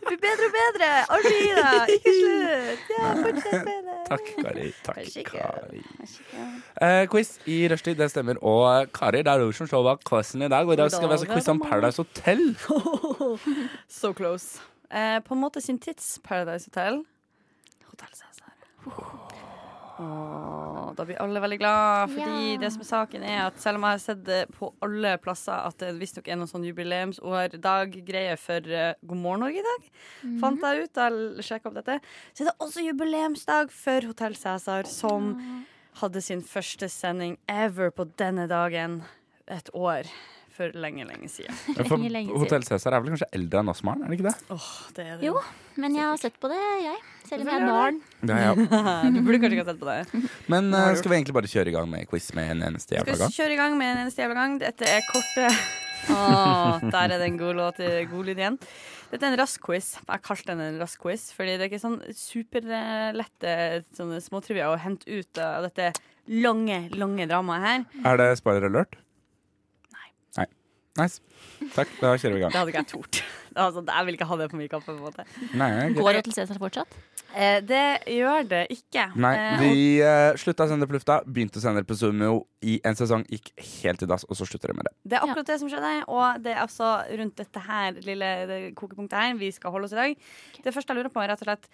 Det blir bedre og bedre. Aldri gi deg. Ikke slutt. Ja, fortsett med det.
Takk, Kari. Takk,
Vær så god.
Kari. Eh, quiz i rushtid, det stemmer. Og eh, Kari, det er du som står bak quizen i dag. Og i dag skal vi altså quize om Paradise Hotel.
So close. Eh, på en måte sin tids Paradise Hotel. Hotel Cæsar. Åh, da blir alle veldig glad, fordi det som er saken er at selv om jeg har sett det på alle plasser at det visstnok er noen sånn jubileumsår-dag-greie for eh, God morgen Norge i dag, fant jeg ut da jeg sjekka opp dette, så er det også jubileumsdag for Hotel Cæsar, som hadde sin første sending ever på denne dagen et år for lenge, lenge siden.
For Hotell Cæsar er vel kanskje eldre enn oss, Maren? Er det ikke det?
Det er det.
Jo, men jeg har sett på det, jeg. Selv om jeg er
Hvorfor gjør
barn.
Det har jeg også.
du burde kanskje ikke ha sett på det.
Men eh, skal vi egentlig bare kjøre i gang med quiz med en eneste jævla
Skal vi
gang?
kjøre i gang med en eneste jævla gang? Dette er eh, korte Åh, Der er det en god, låt, eh, god lyd igjen. Dette er en rask quiz. Jeg har kalt den en rask quiz, fordi det er ikke sånn superlette sånne småtrivia å hente ut av dette lange, lange dramaet her.
Er det spoiler alert? Nei. Nice. Takk, da kjører vi i
Det
gang.
hadde ikke jeg tort. Altså, jeg vil ikke ha det på min kappe. på en måte
Nei, jeg-
Går Hotel Cæsar fortsatt?
Eh, Det gjør det ikke.
Nei,
Eh,
de eh, slutta å sende på lufta, begynte å sende på Sumo i en sesong, gikk helt i dass, og så slutter de med det.
Det er akkurat det som skjedde, og det er altså rundt dette her lille det kokepunktet her vi skal holde oss i dag. Det første jeg lurer på, er rett og slett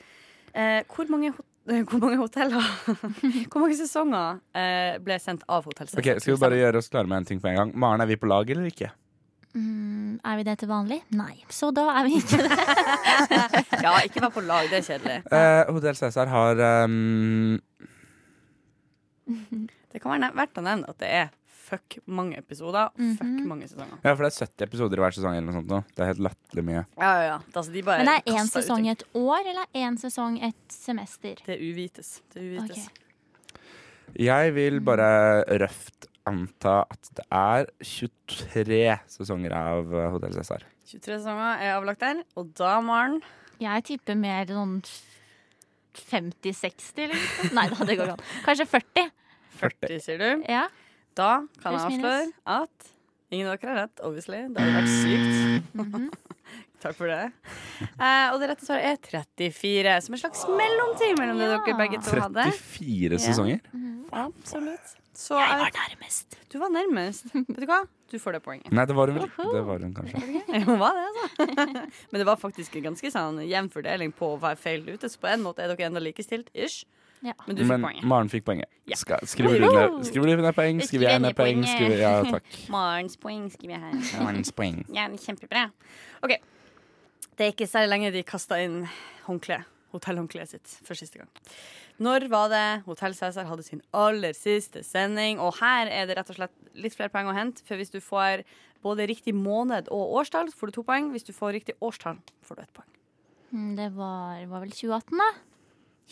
eh, hvor, mange hot eh, hvor mange hoteller Hvor mange sesonger eh, ble sendt av Hotell Cæsar?
Ok, Skal vi bare gjøre oss klare med en ting på en gang? Maren, er vi på lag eller ikke?
Mm, er vi det til vanlig? Nei. Så da er vi ikke det.
Ja, ikke vær på lag, det er kjedelig.
Eh, Hotell Cæsar har ehm,
Det kan være nev- verdt å nevne at det er fuck mange episoder og
Mhm.
fuck mange sesonger.
Ja, for det er 70 episoder i hver sesong eller noe sånt nå. Det er helt latterlig mye.
Ja, ja, ja. Altså, de bare
Men er én
kastet ut
sesong
ting.
et år, eller er én sesong et semester?
Det uvites. Det uvites.
Jeg vil
Mm.
bare røft anta at det er 23 sesonger av eh, Hotell Cæsar.
23 sesonger er avlagt der, og da, Maren
Jeg tipper mer sånn 50-60, eller noe. Nei da, det går ikke an. Kanskje 40.
40, sier du.
Ja.
Da kan
Pluss
jeg
minus.
avsløre at ingen av dere har rett, obviously. Det hadde vært sykt. Mhm. Takk for det. Eh, og det rette svaret er 34, som en slags mellomting mellom det dere begge to hadde.
34 sesonger?
Ja, absolutt. Så jeg var
nærmest.
Du var nærmest. Vet du hva? Du får det poenget.
Nei, det var hun vel ikke. Det var hun kanskje.
Det var det, altså. Men det var faktisk en ganske sånn jevn fordeling på å være feil ute, så på en måte er dere enda likestilt, ish. Men du fikk
Men
poenget.
Maren fikk poenget.
Ja.
Skal, skriver du ned, skriver du ned poeng?
Jeg
Skriver jeg ned poeng?
poenget.
Skriver, ja, takk.
Marens poeng skriver jeg her.
Marens poeng.
Ja, men kjempebra. OK. Det er ikke særlig lenge de kasta inn håndkle, hotellhåndkleet sitt for siste gang. Når var det Hotell Cæsar hadde sin aller siste sending? Og her er det rett og slett litt flere poeng å hente, for hvis du får både riktig måned og årstall, får du to poeng. Hvis du får riktig årstall, får du ett poeng.
Mm, Det var, var vel 2018, da.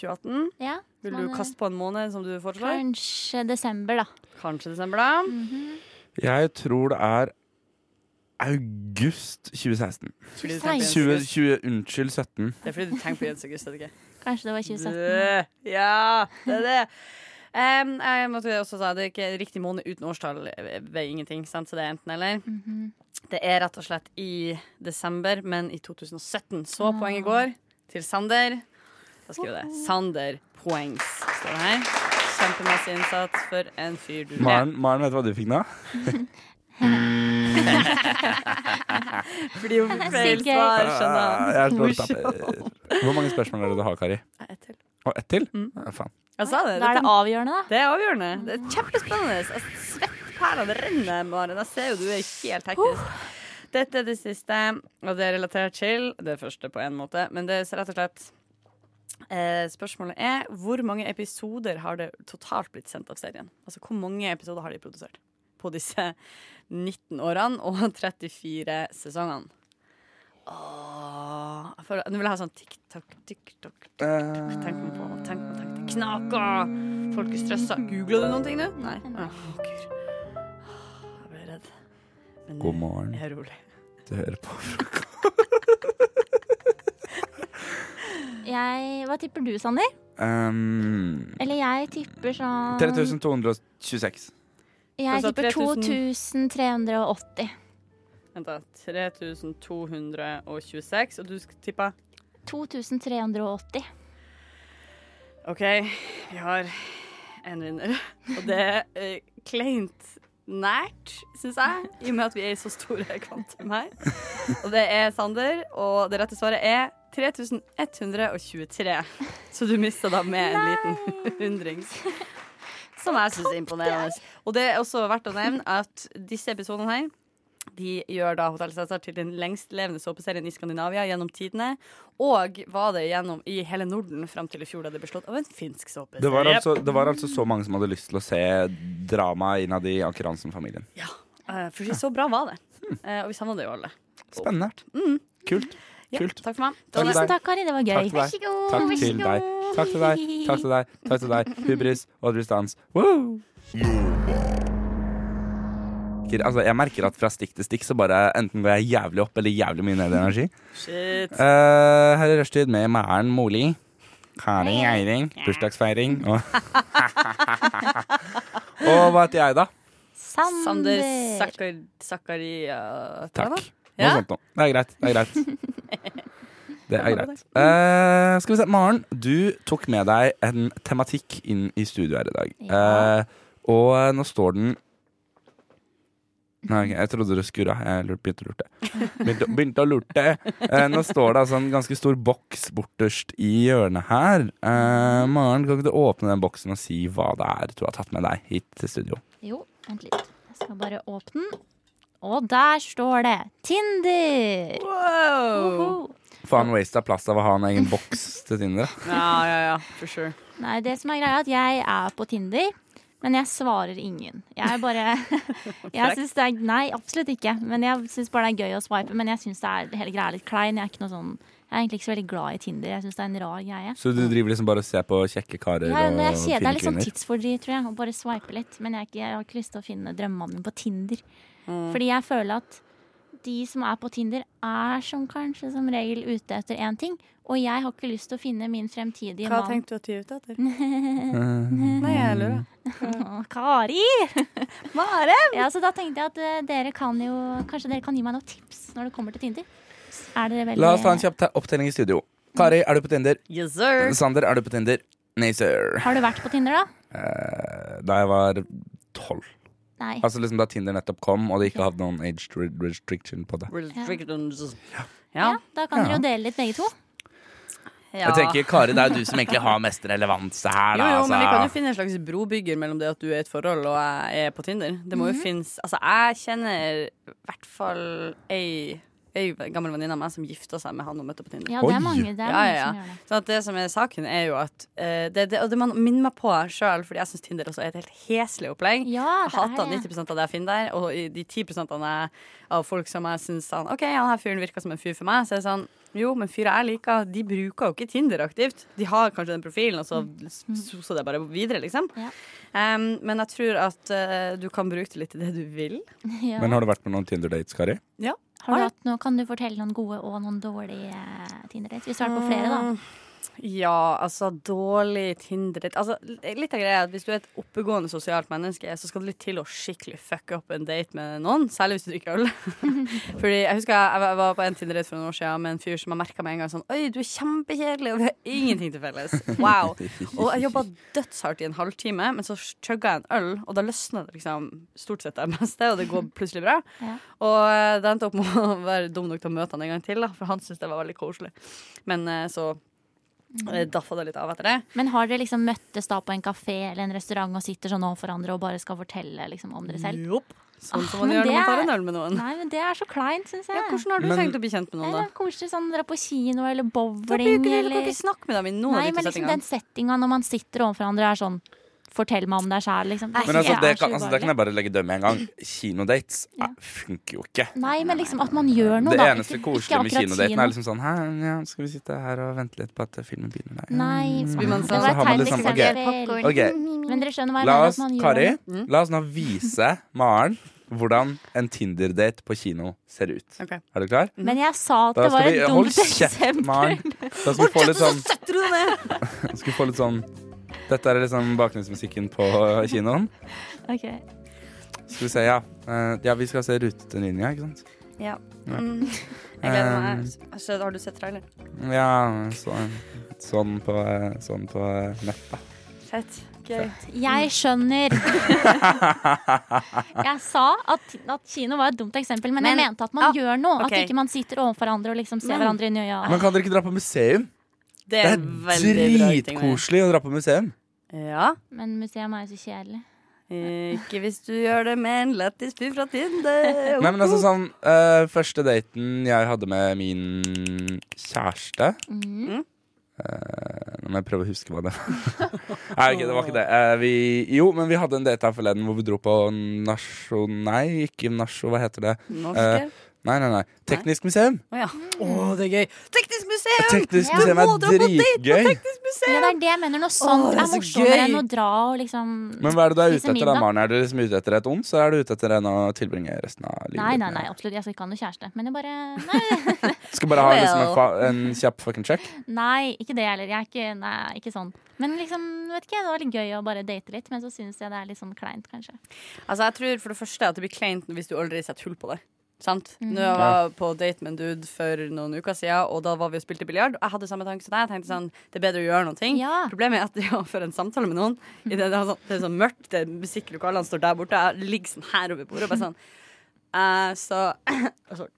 2018.
Ja,
Vil
men,
du
eh,
kaste på en måned som du foreslår?
Kanskje desember, da.
Kanskje desember, da.
Jeg tror det er August 2016.
Fordi du tenker
20,
august.
20, unnskyld, 17.
Det er fordi du tenker på Jens August, er det ikke?
Kanskje det var 2017.
Bleh. Ja, det er det. Em, jeg måtte også sa, det er ikke riktig måned uten årstall ved ingenting, sant? så det er enten eller. Det er rett og slett i desember, men i 2017. Så poenget går til Sander. Da skriver jeg det. Sander Poengs, står det her. Kjempemasse innsats for en fyr du
Maren, Maren, vet du hva du fikk nå?
Fordi hun fikk feil
Så gøy.
svar,
Ah, jeg er
skjønner
så tapper. Hvor mange spørsmål er det du har, Kari?
Ett til.
Og ett til?
Mm.
Ja, faen.
Jeg sa det.
Da er det avgjørende, da.
Det er avgjørende. Det er kjempespennende. Altså, Svettperlene renner, Maren. Jeg ser jo du er helt hektisk. Dette er det siste, og det er relatert til det første på en måte. Men det er rett og slett eh, Spørsmålet er hvor mange episoder har det totalt blitt sendt av serien? Altså hvor mange episoder har de produsert på disse 19 årene og 34 sesongene? Åh, jeg føler, nå vil jeg ha sånn tikk-takk, tikk-takk, tikk-takk. Tenk meg på, tenk meg, tenk meg. Knaka! Folk er stressa. Googla du noen ting, du? Nei. Åh, Gud. Åh, Jeg ble redd. Men eh,
God morgen.
Jeg er rolig.
Du hører på.
Jeg, hva tipper du, Sander?
Um,
Eller jeg tipper sånn
3226.
Jeg
Du sa
tipper
3000.
2380.
Vent, da. 3226, og du sk- tippa
2380.
OK, vi har en vinner. Og det er eh, kleint nært, syns jeg, i og med at vi er i så store kvantum her. Og det er Sander, og det rette svaret er 3123. Så du mista da med en liten hundrings. Som jeg syns er imponerende. Og det er også verdt å nevne at disse episodene her de gjør da Hotell Cæsar til den lengstlevende såpeserien i Skandinavia gjennom tidene. Og var det gjennom i hele Norden fram til i fjor, da det ble slått av en finsk såpeserie.
Det var, altså, det var altså så mange som hadde lyst til å se drama innad i Anker Hansen-familien.
Eh, for så bra var det. Eh, og vi savna det jo alle.
Spennende.
Mm.
Kult.
Ja,
Kult.
Takk for meg.
Takk til
Tusen
deg.
takk, Kari. Det var gøy.
Takk til deg. Takk til deg. Takk til deg. Takk til deg. Takk til deg. Hubris og drustans. Woo! Altså, jeg merker at fra stikk til stikk så bare enten går jeg jævlig opp eller jævlig mye ned i energi.
Shit.
Eh, her er Rushtid med Maren Moli. Kari Eiring. Bursdagsfeiring. Og, og hva heter jeg, da?
Sander,
Sander Zakar- Zakaria
Takk. Noe
Ja?
sånt noe. Det er greit. Det er greit. Det er greit. Eh, skal vi se. Maren, du tok med deg en tematikk inn i studio her i dag. Eh, og nå står den Nei, ok, jeg trodde det skurra. Jeg lurte- begynte å lurte. Begynte, begynte å lurte. Eh, nå står det altså en ganske stor boks borterst i hjørnet her. Eh, Maren, kan ikke du åpne den boksen og si hva det er du har tatt med deg hit til studio?
Jo, vent litt. Jeg skal bare åpne den. Og der står det Tinder! Woho!
Faen, waste av plass av å ha en egen boks til Tinder.
Ja, ja, ja. For sure.
Nei, det som er greia, er at jeg er på Tinder, men jeg svarer ingen. Jeg bare jeg synes det er, Nei, absolutt ikke. Men jeg syns bare det er gøy å swipe. Men jeg syns hele greia er litt klein. Jeg er, ikke noe sånn, jeg er egentlig ikke så veldig glad i Tinder. Jeg syns det er en rar greie.
Så du driver liksom bare og ser på kjekke karer
Ja, men jeg
og
kjeder, det
fine
er litt sånn
kvinner?
tidsfordriv, tror jeg, å bare swipe litt. Men jeg, er ikke, jeg har ikke lyst til å finne drømmene mine på Tinder.
Mm.
Fordi jeg føler at de som er på Tinder, er som kanskje som regel ute etter én ting. Og jeg har ikke lyst til å finne min fremtidige
Hva
mann.
tenkte du at de er ute etter?
Nei,
jeg lurer.
Kari! Ja, så da tenkte jeg at eh, dere kan jo Kanskje dere kan gi meg noen tips når det kommer til Tinder. Er dere veldig
La oss ta en kjapp te- opptelling i studio. Kari, er du på Tinder?
Yes, sir.
Sander, er du på Tinder? Nei, sir.
Har du vært på Tinder, da?
Eh, Da jeg var tolv.
Nei.
Altså liksom Da Tinder nettopp kom, og det ikke hadde noen age re- restriction på det.
Restrictions.
Ja,
Ja.
Da kan dere
Ja.
jo dele litt, begge to.
Jeg tenker, Kari, det er jo du som egentlig har mest relevans her.
Jo,
Da,
jo, men vi kan jo
altså.
finne en slags brobygger mellom det at du er i et forhold og jeg er på Tinder. Det må jo finnes Altså, jeg kjenner i hvert fall ei ei gammel venninne av meg som gifta seg med han hun møtte på Tinder.
Ja, det er Oi. mange- det er
ja,
mange
ja, ja.
som gjør
Sånn at det som er saken, er jo at eh, det, det, Og det man minner meg på sjøl, fordi jeg syns Tinder også er et helt heslig opplegg. jeg
det er
hater
det.
90 av det jeg finner der, og i de 10 jeg- av folk som jeg syns sånn, OK, han her fyren virker som en fyr for meg, så er det sånn jo, men fyrer jeg liker, de bruker jo ikke Tinder aktivt. De har kanskje den profilen, og så soser det bare videre, liksom. Em, men jeg tror at eh, du kan bruke det litt til det du vil.
Ja.
Men har du vært på noen Tinder-dates, Kari?
Ja.
Har du hatt noe, kan du fortelle noen gode og noen dårlige eh, Tinder-dates? Vi starter på flere, da.
Ja, altså dårlig Tinder altså, Litt av greia er at Hvis du er et oppegående sosialt menneske, så skal det litt til å skikkelig fucke opp en date med noen. Særlig hvis du drikker øl. Fordi Jeg husker jeg var- jeg var på en Tinder-date for noen år siden med en fyr som jeg merka med en gang sånn Oi, du er kjempekjedelig, og vi har ingenting til felles. Wow. Og jeg jobba dødshardt i en halvtime, men så chugga jeg en øl, og da løsna det liksom stort sett det meste, og det går plutselig bra.
Ja.
Og eh, det endte opp med å være dum nok til å møte han en gang til, da, for han syntes det var veldig koselig. Men eh, så eh, daffa det litt av etter det.
Men har dere liksom møttes da på en kafé eller en restaurant og sitter sånn overfor hverandre og bare skal fortelle liksom om dere selv?
Jopp. Sånn som
Ah,
man
men
gjør når man
det
tar
er-
en øl med noen.
Nei, men det er så kleint, syns jeg.
hvordan har du Men- tenkt å bli kjent med noen, da?
Nei, det er Koselig sånn dra på kino eller bowling
Da blir jo ikke det- du
eller
kan ikke snakke med dem i noen av
Nei,
de to
men liksom
settingene.
den settinga når man sitter overfor hverandre er sånn Fortell meg om deg sjæl, liksom.
Men altså,
er
det,
så
kan, altså, det kan
ubehagelig.
jeg bare legge dømme en gang. Kinodates eh, funker jo ikke.
Nei, men liksom at man gjør noe,
Det
da.
eneste
Ikke- ikke
koselige med
akkurat
kinodaten
kino.
er liksom sånn Hæ, ja, skal vi sitte her og vente litt på at filmen begynner?
Nei,
mm.
det var et
Så har man
teit
liksom,
eksempel.
ok, ok.
Men dere skjønner hva jeg
La
mener?
oss,
at man gjør
Kari,
noe.
Mm.
la oss nå vise Maren hvordan en Tinder-date på kino ser ut.
Ok.
Er du klar?
Mhm.
Men jeg sa at
Da
det var
skal vi-
et
hold
dumt
kjeft, Maren.
eksempel.
Da skal vi få litt sånn
Setter du deg ned?
Skal vi få litt sånn Dette er liksom bakgrunnsmusikken på eh, kinoen.
Ok.
Skal vi se, ja. Eh, ja, vi skal se Rute til Ninja, ikke sant?
Ja.
Ja.
Mm. Jeg gleder meg.
Eh,
Jeg ser- Har du sett traileren?
Ja, så, sånn på, eh, sånn på eh, nett, da.
Fett. Gøy.
Jeg skjønner. jeg sa at, at kino var et dumt eksempel, men, jeg
Men- Ah,
mente at man gjør noe.
ok.
At ikke man sitter overfor hverandre og liksom ser
Men-
hverandre i øya.
Men kan dere ikke dra på museum?
Ah. Det er en veldig bra ting å gjøre.
dritkoselig å dra på museum.
Ja.
Men museum er jo så kjedelig.
Ikke hvis du gjør det med en lættis fyr fra Tinder.
Nei, men altså sånn eh, Første daten jeg hadde med min kjæreste
Mm.
Eh, Nå må jeg prøve å huske hva det var. Nei, ok, det var ikke det. Eh, vi, jo, men vi hadde en date her forleden hvor vi dro på Nasjo... Nei, ikke Nasjo, hva heter det?
Norske?
Eh, nei, nei, nei. Teknisk museum.
Å ja. Å, det er gøy. Teknisk museum!
Teknisk
Du
museum
må
er
dra på date på
dritgøy.
Teknisk
Ja,
museum!
det er det jeg mener. Noe sånt
Åh, det er
er,
så
morsommere
gøy.
enn å dra og liksom
Men hva er det du er ute
spise
etter da,
middag?
Maren? Er du liksom ute etter et ondt, så er du ute etter en å tilbringe resten av livet?
Nei, nei, nei, absolutt. Jeg skal ikke ha noe kjæreste. Men jeg bare Nei,
Skal bare ha liksom en,
Well.
fa en kjapp fucking check?
nei ikke det heller. Jeg er ikke, nei, ikke sånn. Men liksom, vet ikke, det var litt gøy å bare date litt. Men så syns jeg det er litt sånn kleint, kanskje.
Altså, jeg tror for det første at det blir kleint hvis du aldri setter hull på det. Sant?
Mhm.
Nå jeg var på date med en dude for noen uker siden, og da var vi og spilte biljard. Og jeg hadde samme tanke som deg. Jeg tenkte sånn, det er bedre å gjøre noe. Problemet er at det å føre en samtale med noen i det, det, er sånn, det er sånn mørkt, det er musikklokalene står der borte, jeg ligger sånn her over bordet og bare sånn eh, Så altså,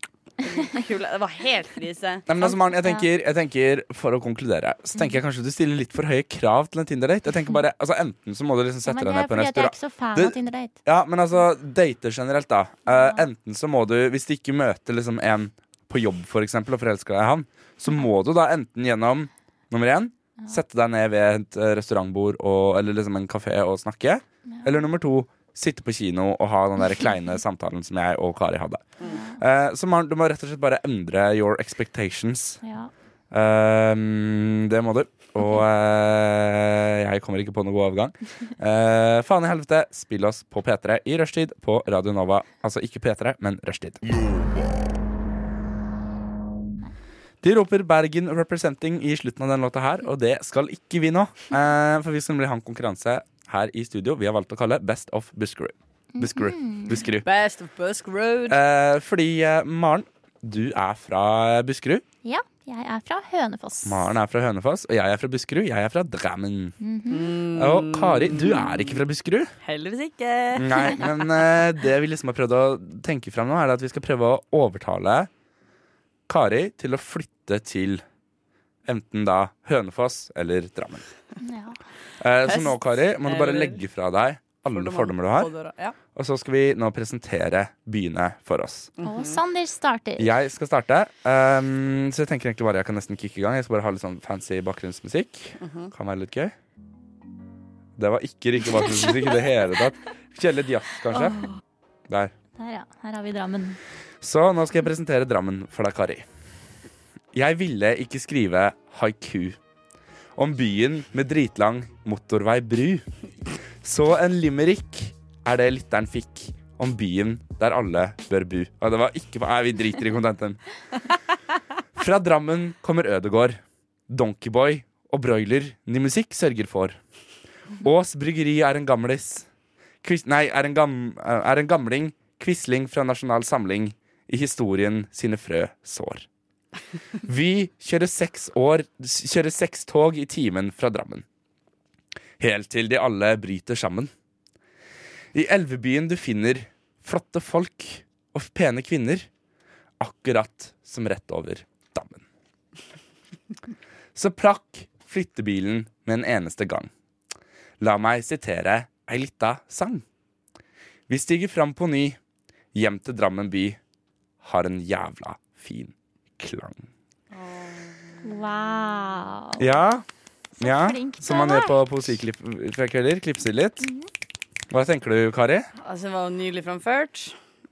kule. Det var helt krise.
Nei, men altså, Maren, jeg tenker, jeg tenker, For å konkludere, så tenker jeg
Mm.
kanskje du stiller litt for høye krav til en Tinder-date. Jeg tenker bare, altså Enten så må du liksom
Ja,
sette deg
men det
ned
er
på en
fordi at jeg er Mm.
restaurant
ikke så fan
Det-
av Tinder-date.
Ja, men altså, dater generelt, da. Eh, Enten så må du, hvis du ikke møter liksom en på jobb, for eksempel, og forelsker deg i han, så må du da enten gjennom nummer én sette deg ned ved et eh, restaurantbord og, eller liksom en kafé og snakke. Eller nummer to sitte på kino og ha den der kleine samtalen som jeg og Kari hadde.
Mm.
Eh, så Maren, du må rett og slett bare endre your expectations.
Ja.
Ehm, det må du. Og eh, jeg kommer ikke på noen god overgang. Eh, faen i helvete, spill oss på P3 i rushtid på Radio Nova. Altså ikke P3, men rushtid. De roper Bergen representing i slutten av den låta her, og det skal ikke vi nå. Eh, for vi skal nemlig ha en konkurranse her i studio vi har valgt å kalle Best of Buskerud. Buskerud.
Mhm.
Buskerud.
Best of Busk Road.
Eh, fordi eh, Maren, du er fra Buskerud.
Ja, jeg er fra Hønefoss.
Maren er fra Hønefoss, og jeg er fra Buskerud. Jeg er fra Drammen.
Eh,
Mhm.
Og Kari, du er ikke fra Buskerud.
Mm, Heldigvis ikke.
Nei, men eh, det vi liksom har prøvd å tenke fram nå, er at vi skal prøve å overtale Kari til å flytte til enten da Hønefoss eller Drammen.
Ja.
Eh, så nå, Kari, må du bare
Eller-
legge fra deg alle fordommer du har.
Fordommer, ja.
Og så skal vi nå presentere byene for oss.
Og Sander starter.
Jeg skal starte. Um, så jeg tenker egentlig bare jeg kan nesten kicke i gang. Jeg skal bare ha litt sånn fancy bakgrunnsmusikk.
Mhm.
Kan være litt gøy. Det var ikke riktig bakgrunnsmusikk i det hele tatt. Kjell litt jazz, kanskje.
Åh.
Der.
Der, ja. Her har vi Drammen.
Så nå skal jeg presentere Drammen for deg, Kari. Jeg ville ikke skrive haiku om byen med dritlang motorveibru. Så en limerick er det lytteren fikk om byen der alle bør bu. Og det var ikke Nei, vi driter i kontenten. Fra Drammen kommer Ødegård. Donkeyboy og broiler ny musikk sørger for. Ås bryggeri er en gamlis. Quis, nei, er en, gam, er en gamling. Quisling fra Nasjonal Samling. I historien sine frø sår. Vi kjører seks, år, kjører seks tog i timen fra Drammen. Helt til de alle bryter sammen. I elvebyen du finner flotte folk og pene kvinner. Akkurat som rett over dammen. Så prakk flyttebilen med en eneste gang. La meg sitere ei lita sang. Vi stiger fram på ny, hjem til Drammen by. Har en jævla fin klang.
Wow.
Ja. ja.
flink du
Som man
er, Mm.
gjør på poesikvelder. Klipser litt. Hva tenker du, Kari?
Altså, det var jo nydelig framført.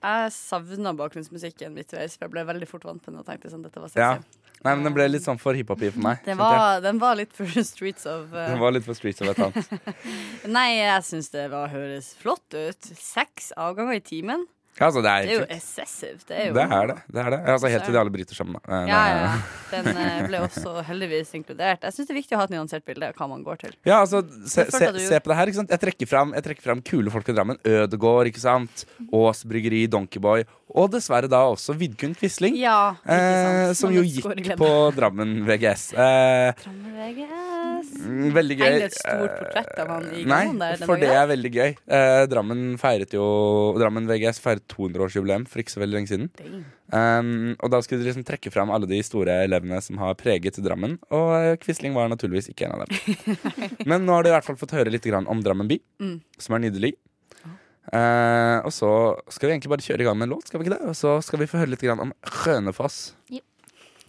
Jeg savna bakgrunnsmusikken midtveis, for jeg ble veldig fort vant til den og tenkte sånn, dette var sexy.
Ja. Nei, men Den ble litt sånn for hiphop-y for meg.
Den,
kjente jeg.
var, den var litt for streets of eh,
Den var litt for streets og et eller annet.
Nei, jeg syns det var, høres flott ut. Seks avganger i timen.
Ja, altså, det er,
Det er jo
det
excessive. Det er
er
jo
det. det, er det. Altså, helt til de alle bryter sammen. da. Eh,
Ja, ja.
nei,
ja.
nei,
Den eh, ble også heldigvis inkludert. Jeg syns det er viktig å ha et nyansert bilde av hva man går til.
Ja, altså, se,
Jeg følte
se,
at du-
se på det her. ikke sant? Jeg trekker fram, jeg trekker fram kule folk i Drammen. Ødegård, ikke sant? Ås Bryggeri, Donkeyboy. Og dessverre da også Vidkun Quisling.
Ja, ikke sant.
eh, som
Men
jo
det
gikk
skår i gleden.
på Drammen VGS. Eh,
VGS.
mm, veldig gøy. Eh,
Henger et stort portrett av han i
Nei,
gangen der den
for det
dagen.
er veldig gøy. Eh, Drammen feiret jo Drammen VGS feiret 200-årsjubileum for ikke så veldig lenge siden. Um, og da skulle de liksom trekke fram alle de store elevene som har preget Drammen. Og eh, Quisling var naturligvis ikke en av dem. Men nå har du i hvert fall fått høre litt grann om Drammen by,
Mm.
som er nydelig. Eh, og så skal vi egentlig bare kjøre i gang med en låt, skal vi ikke det? Og så skal vi få høre litt grann om Hønefoss.
Jo.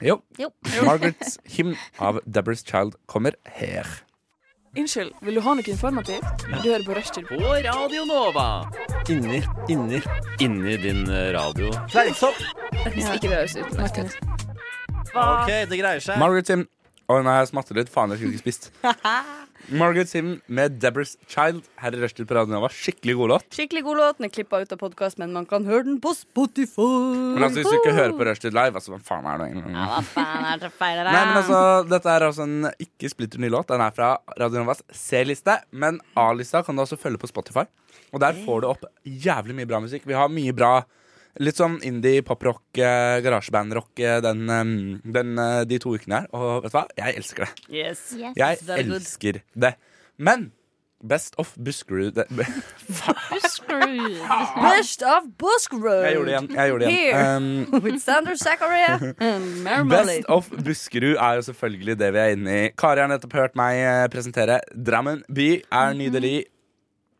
Jo.
Jo.
Margaret's Hymn av Deborah's Child kommer her.
Unnskyld, vil du ha noe informativt? Du hører på Rushtid. På Radio Nova.
Inni, inni, inni din eh, radio.
Fleisopp. Hvis ikke det høres ut. Martin.
OK, det greier seg.
Margaret Sim Å nei, jeg smatter litt. Faen, jeg skulle ikke spist. Margaret Sim med Deborah's Child her i Rushtid på Radio Nova. Skikkelig god låt.
Skikkelig god låt. Den er klippa ut av podkast, men man kan høre den på Spotify.
Men altså, hvis du ikke hører på Rushtid live, altså, hva faen er det egentlig?
Faen, er det feil det
Nei, men altså, Dette er altså en ikke splitter ny låt. Den er fra Radio Novas C-liste. Men A-lista kan du også følge på Spotify. Og der får du opp jævlig mye bra musikk. Vi har mye bra litt sånn indie, poprock, eh, garasjebandrock eh, den, eh, den, eh, de to ukene her. Og vet du hva? Jeg elsker det.
Yes. Yes.
Jeg
Very good.
elsker det. Men Best of Buskerud det-
Buskerud. Best of Buskerud.
Jeg gjorde det igjen. Jeg gjorde det igjen. Um,
Here with Sander Zakaria and Mm, Mary Molly.
Best of Buskerud er jo selvfølgelig det vi er inne i. Kari har nettopp hørt meg eh, presentere Drammen by er nydelig.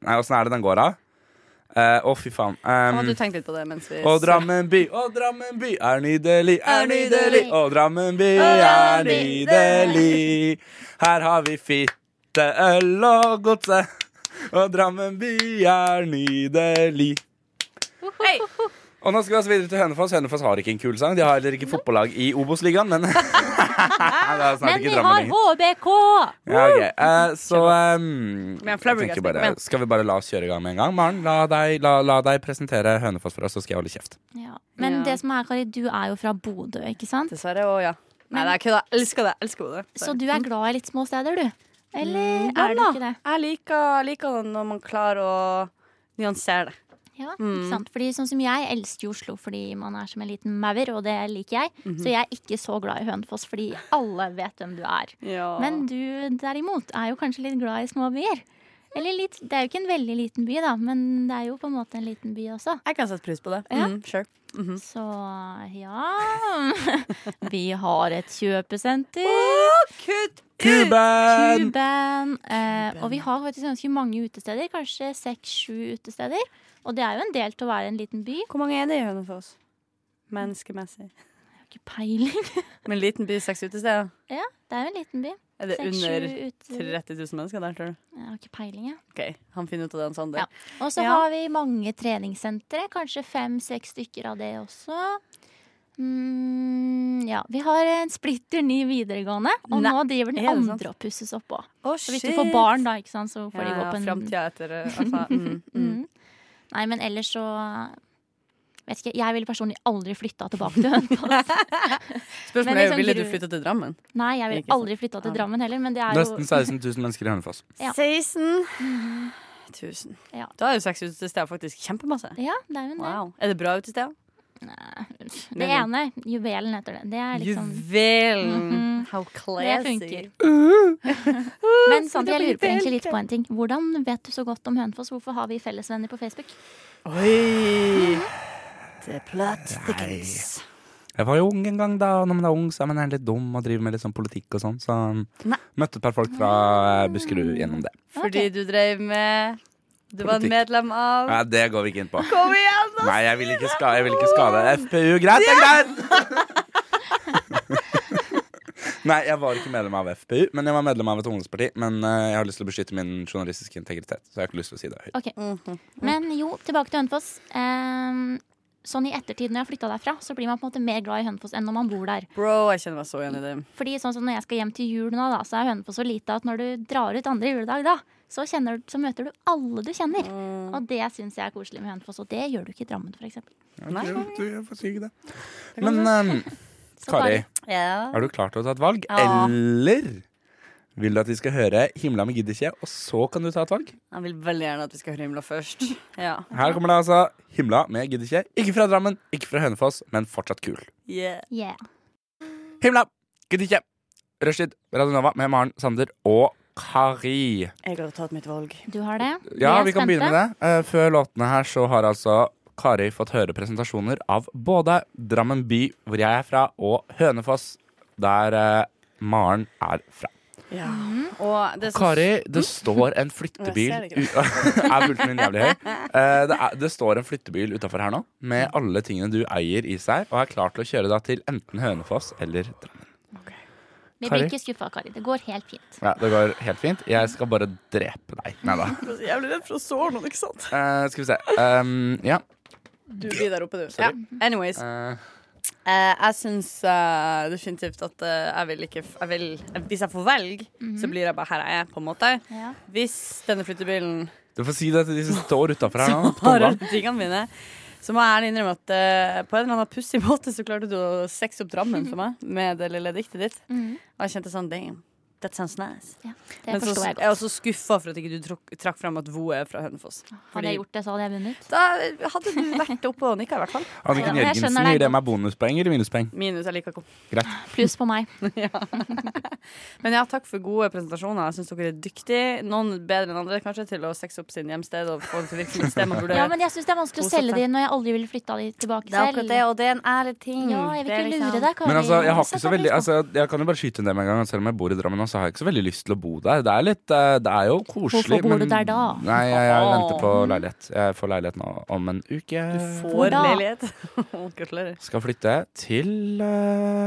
Nei, åssen er det den går av? Eh, Å, fy faen.
Kan
Um,
Mhm. du tenke litt på det mens vi
og Drammen by, og Drammen by er nydelig, er nydelig. Og Drammen by er
Drammen by,
nydelig. Her har vi fitte, øl og godse. Og Drammen by er nydelig.
Hei!
Og nå skal vi altså videre til Hønefoss. Hønefoss har ikke en kul sang. De har heller ikke fotballag i Obos-ligaen, men Det er snart
Men
ikke
vi
Drammen
har
lenger.
HBK!
Ja, ok. Eh, så ehm,
Men
jeg
Flower
tenker
Girls, kom
bare,
igjen.
Skal vi bare la oss kjøre i gang med en gang? Maren, la deg, la, la deg presentere Hønefoss for oss, så skal jeg holde kjeft.
Ja. Men det som er, Kari, du er jo fra Bodø, ikke sant?
Dessverre òg, ja. Nei, det er kødda. Jeg Elsker det. jeg Elsker Bodø.
Så du er glad i litt små steder, du? Eller
Ja
er du
da.
ikke Mm, det?
Jeg liker, liker det når man klarer å nyansere det.
Ja,
Mm.
ikke sant? Fordi sånn som Jeg elsker jo Oslo fordi man er som en liten maur, og det liker jeg.
Mhm.
Så jeg er ikke så glad i Hønefoss fordi alle vet hvem du er.
Ja.
Men du derimot er jo kanskje litt glad i små byer. Eller litt, det er jo ikke en veldig liten by, da, men det er jo på en måte en liten by også.
Jeg kan sette pris på det.
Ja.
Mm, sure.
Så ja Vi har et kjøpesenter.
Kuban!
Kuben. Eh, og vi har faktisk ganske mange utesteder. Kanskje seks-sju utesteder. Og det er jo en del til å være en liten by.
Hvor mange er det i Hønefoss? Menneskemessig.
Ikke peiling.
Men liten by, seks utesteder?
Ja, det er jo en liten by.
Er det
Seks, sju
under
utesteder.
30 000 mennesker der, tror du?
Jeg har ikke peiling, jeg.
OK, han finner ut av det, han Sander.
Ja. Og så
Ja.
har vi mange treningssentre. Kanskje fem-seks stykker av det også. Mm, ja, Vi har en splitter ny videregående, og
Nei,
nå driver den
er det sant?
andre og pusses opp òg.
Å,
så hvis du
shit.
får barn, da, ikke sant, så får
Ja,
de gå
ja,
på en
framtida etter, eh, altså, mm,
Mm. Nei, men ellers så Vet ikke, Jeg ville personlig aldri flytta tilbake til Hønefoss. Men
Spørsmålet er jo,
liksom
ville du
gru-
flytte til Drammen?
Nei, jeg ville
Ikke sant.
aldri flytta til Drammen heller, men det er jo
Nesten 16 000 mennesker i Hønefoss.
16 000.
Ja.
Mhm. Da er jo seks utesteder faktisk kjempemasse.
Ja, det er jo en del.
Wow. Er det bra utesteder?
Det ene, juvelen heter det. Det er liksom
Juvelen!
Mhm.
How
Det
classy.
funker. Men sant, jeg lurer på egentlig litt på en ting. Hvordan vet du så godt om Hønefoss? Hvorfor har vi fellesvenner på Facebook?
Oi! Det er plot thickens.
Jeg var jo ung en gang, da. og Når man er ung, så er man litt dum og driver med litt sånn politikk og sånn. Så
Nei.
møtte et par folk fra eh, Buskerud gjennom det.
Fordi du drev med Du var
Politikk.
medlem av
Nei, det går vi ikke inn på.
Kom igjen, da!
Nei, jeg vil ikke skade, jeg vil ikke skade. FPU. Greit, det er greit! Nei, jeg var ikke medlem av FPU, men jeg var medlem av et ungdomsparti. Men eh, jeg har lyst til å beskytte min journalistiske integritet, så jeg har ikke lyst til å si det høyt.
Ok.
Mhm,
Men jo, tilbake til Hønefoss. Ehm, sånn i ettertid, når jeg flytta derfra, så blir man på en måte mer glad i Hønefoss enn når man bor der.
Bro, jeg kjenner meg så igjen i det.
Fordi sånn som når jeg skal hjem til jul nå, da, så er Hønefoss så lite at når du drar ut andre juledag, da, så, kjenner, du- så møter du alle du kjenner. Og det syns jeg er koselig med Hønefoss, og det gjør du ikke i Drammen, f.eks.
Nei. Jeg får si ikke det. Men eh, Kari,
Ja.
er du klar til å ta et valg?
Ja.
Eller vil du at vi skal høre 'Himla med gidder ikke', og så kan du ta et valg?
Jeg vil veldig gjerne at vi skal høre himla først. Ja.
Her kommer det altså 'Himla med gidder ikke'. Ikke fra Drammen, ikke fra Hønefoss, men fortsatt kul.
Yeah.
Himla, gidder ikke. Rushtid, Radio Nova med Maren, Sander og Kari.
Jeg har tatt mitt valg.
Du har det?
Ja,
Vi er
vi kan begynne med det.
spente.
Eh, Før låtene her så har altså Kari fått høre presentasjoner av både Drammen by, hvor jeg er fra, og Hønefoss, der eh, Maren er fra.
Ja.
Mhm.
Og det er så-
Kari, det står en flyttebil
Jeg ser det
u- Er bulten min jævlig høy? Eh, det, er, det står en flyttebil utafor her nå med
Mm.
alle tingene du eier i seg, og er klar til å kjøre deg til enten Hønefoss eller Drammen.
Vi
Kari?
blir ikke skuffa, Kari. Det går helt fint.
Ja, det går helt fint. Jeg skal bare drepe deg. Nei da.
Jeg blir jævlig redd for å såre noen, ikke sant?
Eh, skal vi se. Um, ja.
Du blir der oppe, du. Ja.
Sorry.
Anyways.
Eh,
Eh, jeg syns eh, definitivt at eh, jeg vil ikke f- jeg vil, Hvis jeg får velge,
Mhm.
så blir jeg bare her jeg er, på en måte. Hvis denne flyttebilen
du får si det til de som står utafor her nå. på
har
tomgang.
alle tingene mine, så må jeg ærlig innrømme at eh, på en eller annen pussig måte så klarte du å sexe opp Drammen for meg med det lille diktet ditt.
Mhm.
Og jeg kjente sånn damn. That sounds nice.
det
Men så
forstår jeg
jeg
godt.
er også skuffa for at ikke du trakk, trakk fram at Vo er fra Hønefoss.
Hadde jeg gjort det, så hadde jeg vunnet.
Da hadde du vært oppe og nikka, i hvert fall.
Anniken Jørgensen gir det meg bonuspoeng eller minuspoeng.
Minus. Jeg liker ikke
Greit.
Pluss på meg.
Men ja, takk for gode presentasjoner. Jeg syns dere er dyktige. Noen bedre enn andre kanskje til å sexe opp sin hjemsted og få det til å virke som et sted man burde
Ja, men jeg syns det er vanskelig å
Kose
selge
seg.
de når jeg aldri ville flytta de tilbake
Det er
selv.
akkurat det, og det er en ærlig ting.
Ja, jeg vil
Det er
ikke
liksom-
lure deg, Kari.
Men altså, jeg har
Sett
ikke så
deg
veldig
pris på.
altså, Jeg kan jo bare skyte inn det med en gang. Selv om jeg bor i Drammen, nå, så har jeg ikke så veldig lyst til å bo der. Det er litt eh, Det er jo koselig,
Hvorfor bor
men-
du der da?
Nei, jeg, jeg
Åh.
venter på leilighet. Jeg får leilighet nå om en uke.
Får leilighet. Gratulerer.
Skal flytte til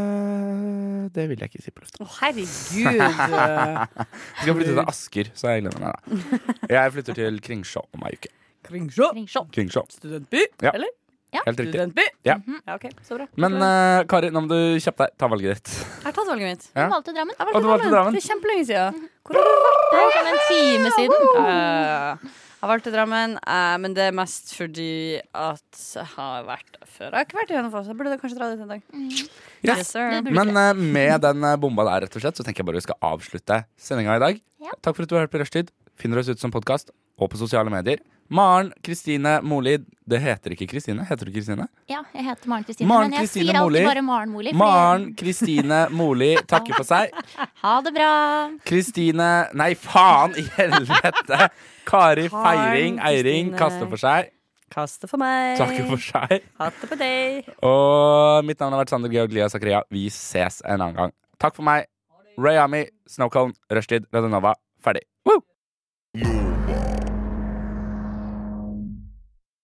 eh, Det vil jeg ikke si på lufta.
Å, herregud. eh,
Skal flytte til Asker, så jeg glemmer det. da. Jeg flytter til Kringsjå om ei uke.
Kringsjå.
Kringsjå.
Studentby,
Ja.
eller?
Helt riktig.
Studentby.
Ja.
Ja, OK, så bra.
Men eh, Kari, nå må du kjappe deg. Ta valget ditt.
Jeg har tatt valget mitt.
Ja. Du
valgte Drammen.
Jeg
Og
valgte
du valgte Drammen.
Det er kjempelenge siden. Mhm. Hvor har du vært?
Det er som en time siden.
Eh, jeg valgte Drammen, eh, men det er mest fordi at jeg har vært der før. Jeg har ikke vært i Hønefoss. Jeg burde kanskje dra dit en dag.
Yes.
Yes, sir.
Men eh, med den eh, bomba der, rett og slett, så tenker jeg bare vi skal avslutte sendinga i dag. Takk for at du har hørt på Rushtid. Finner oss ut som podkast og på sosiale medier. Maren Kristine Molid. Det heter ikke Kristine. Heter du Kristine?
Ja, jeg heter Maren Kristine.
Maren
men jeg
Kristine
sier alltid
Moli.
bare Maren Moli. fordi-
Maren Kristine Moli takker for seg.
Ha det bra.
Kristine Nei, faen i helvete! Kari Feiring Eiring
Kristine.
kaster for seg.
Kaste for meg.
Takker for seg.
Hatt det på deg.
Og mitt navn har vært Sander Georg Lia Zakaria. Vi ses en annen gang. Takk for meg. Rayami, Snowcone, Rushtid, Radionova. Ferdig. Woo!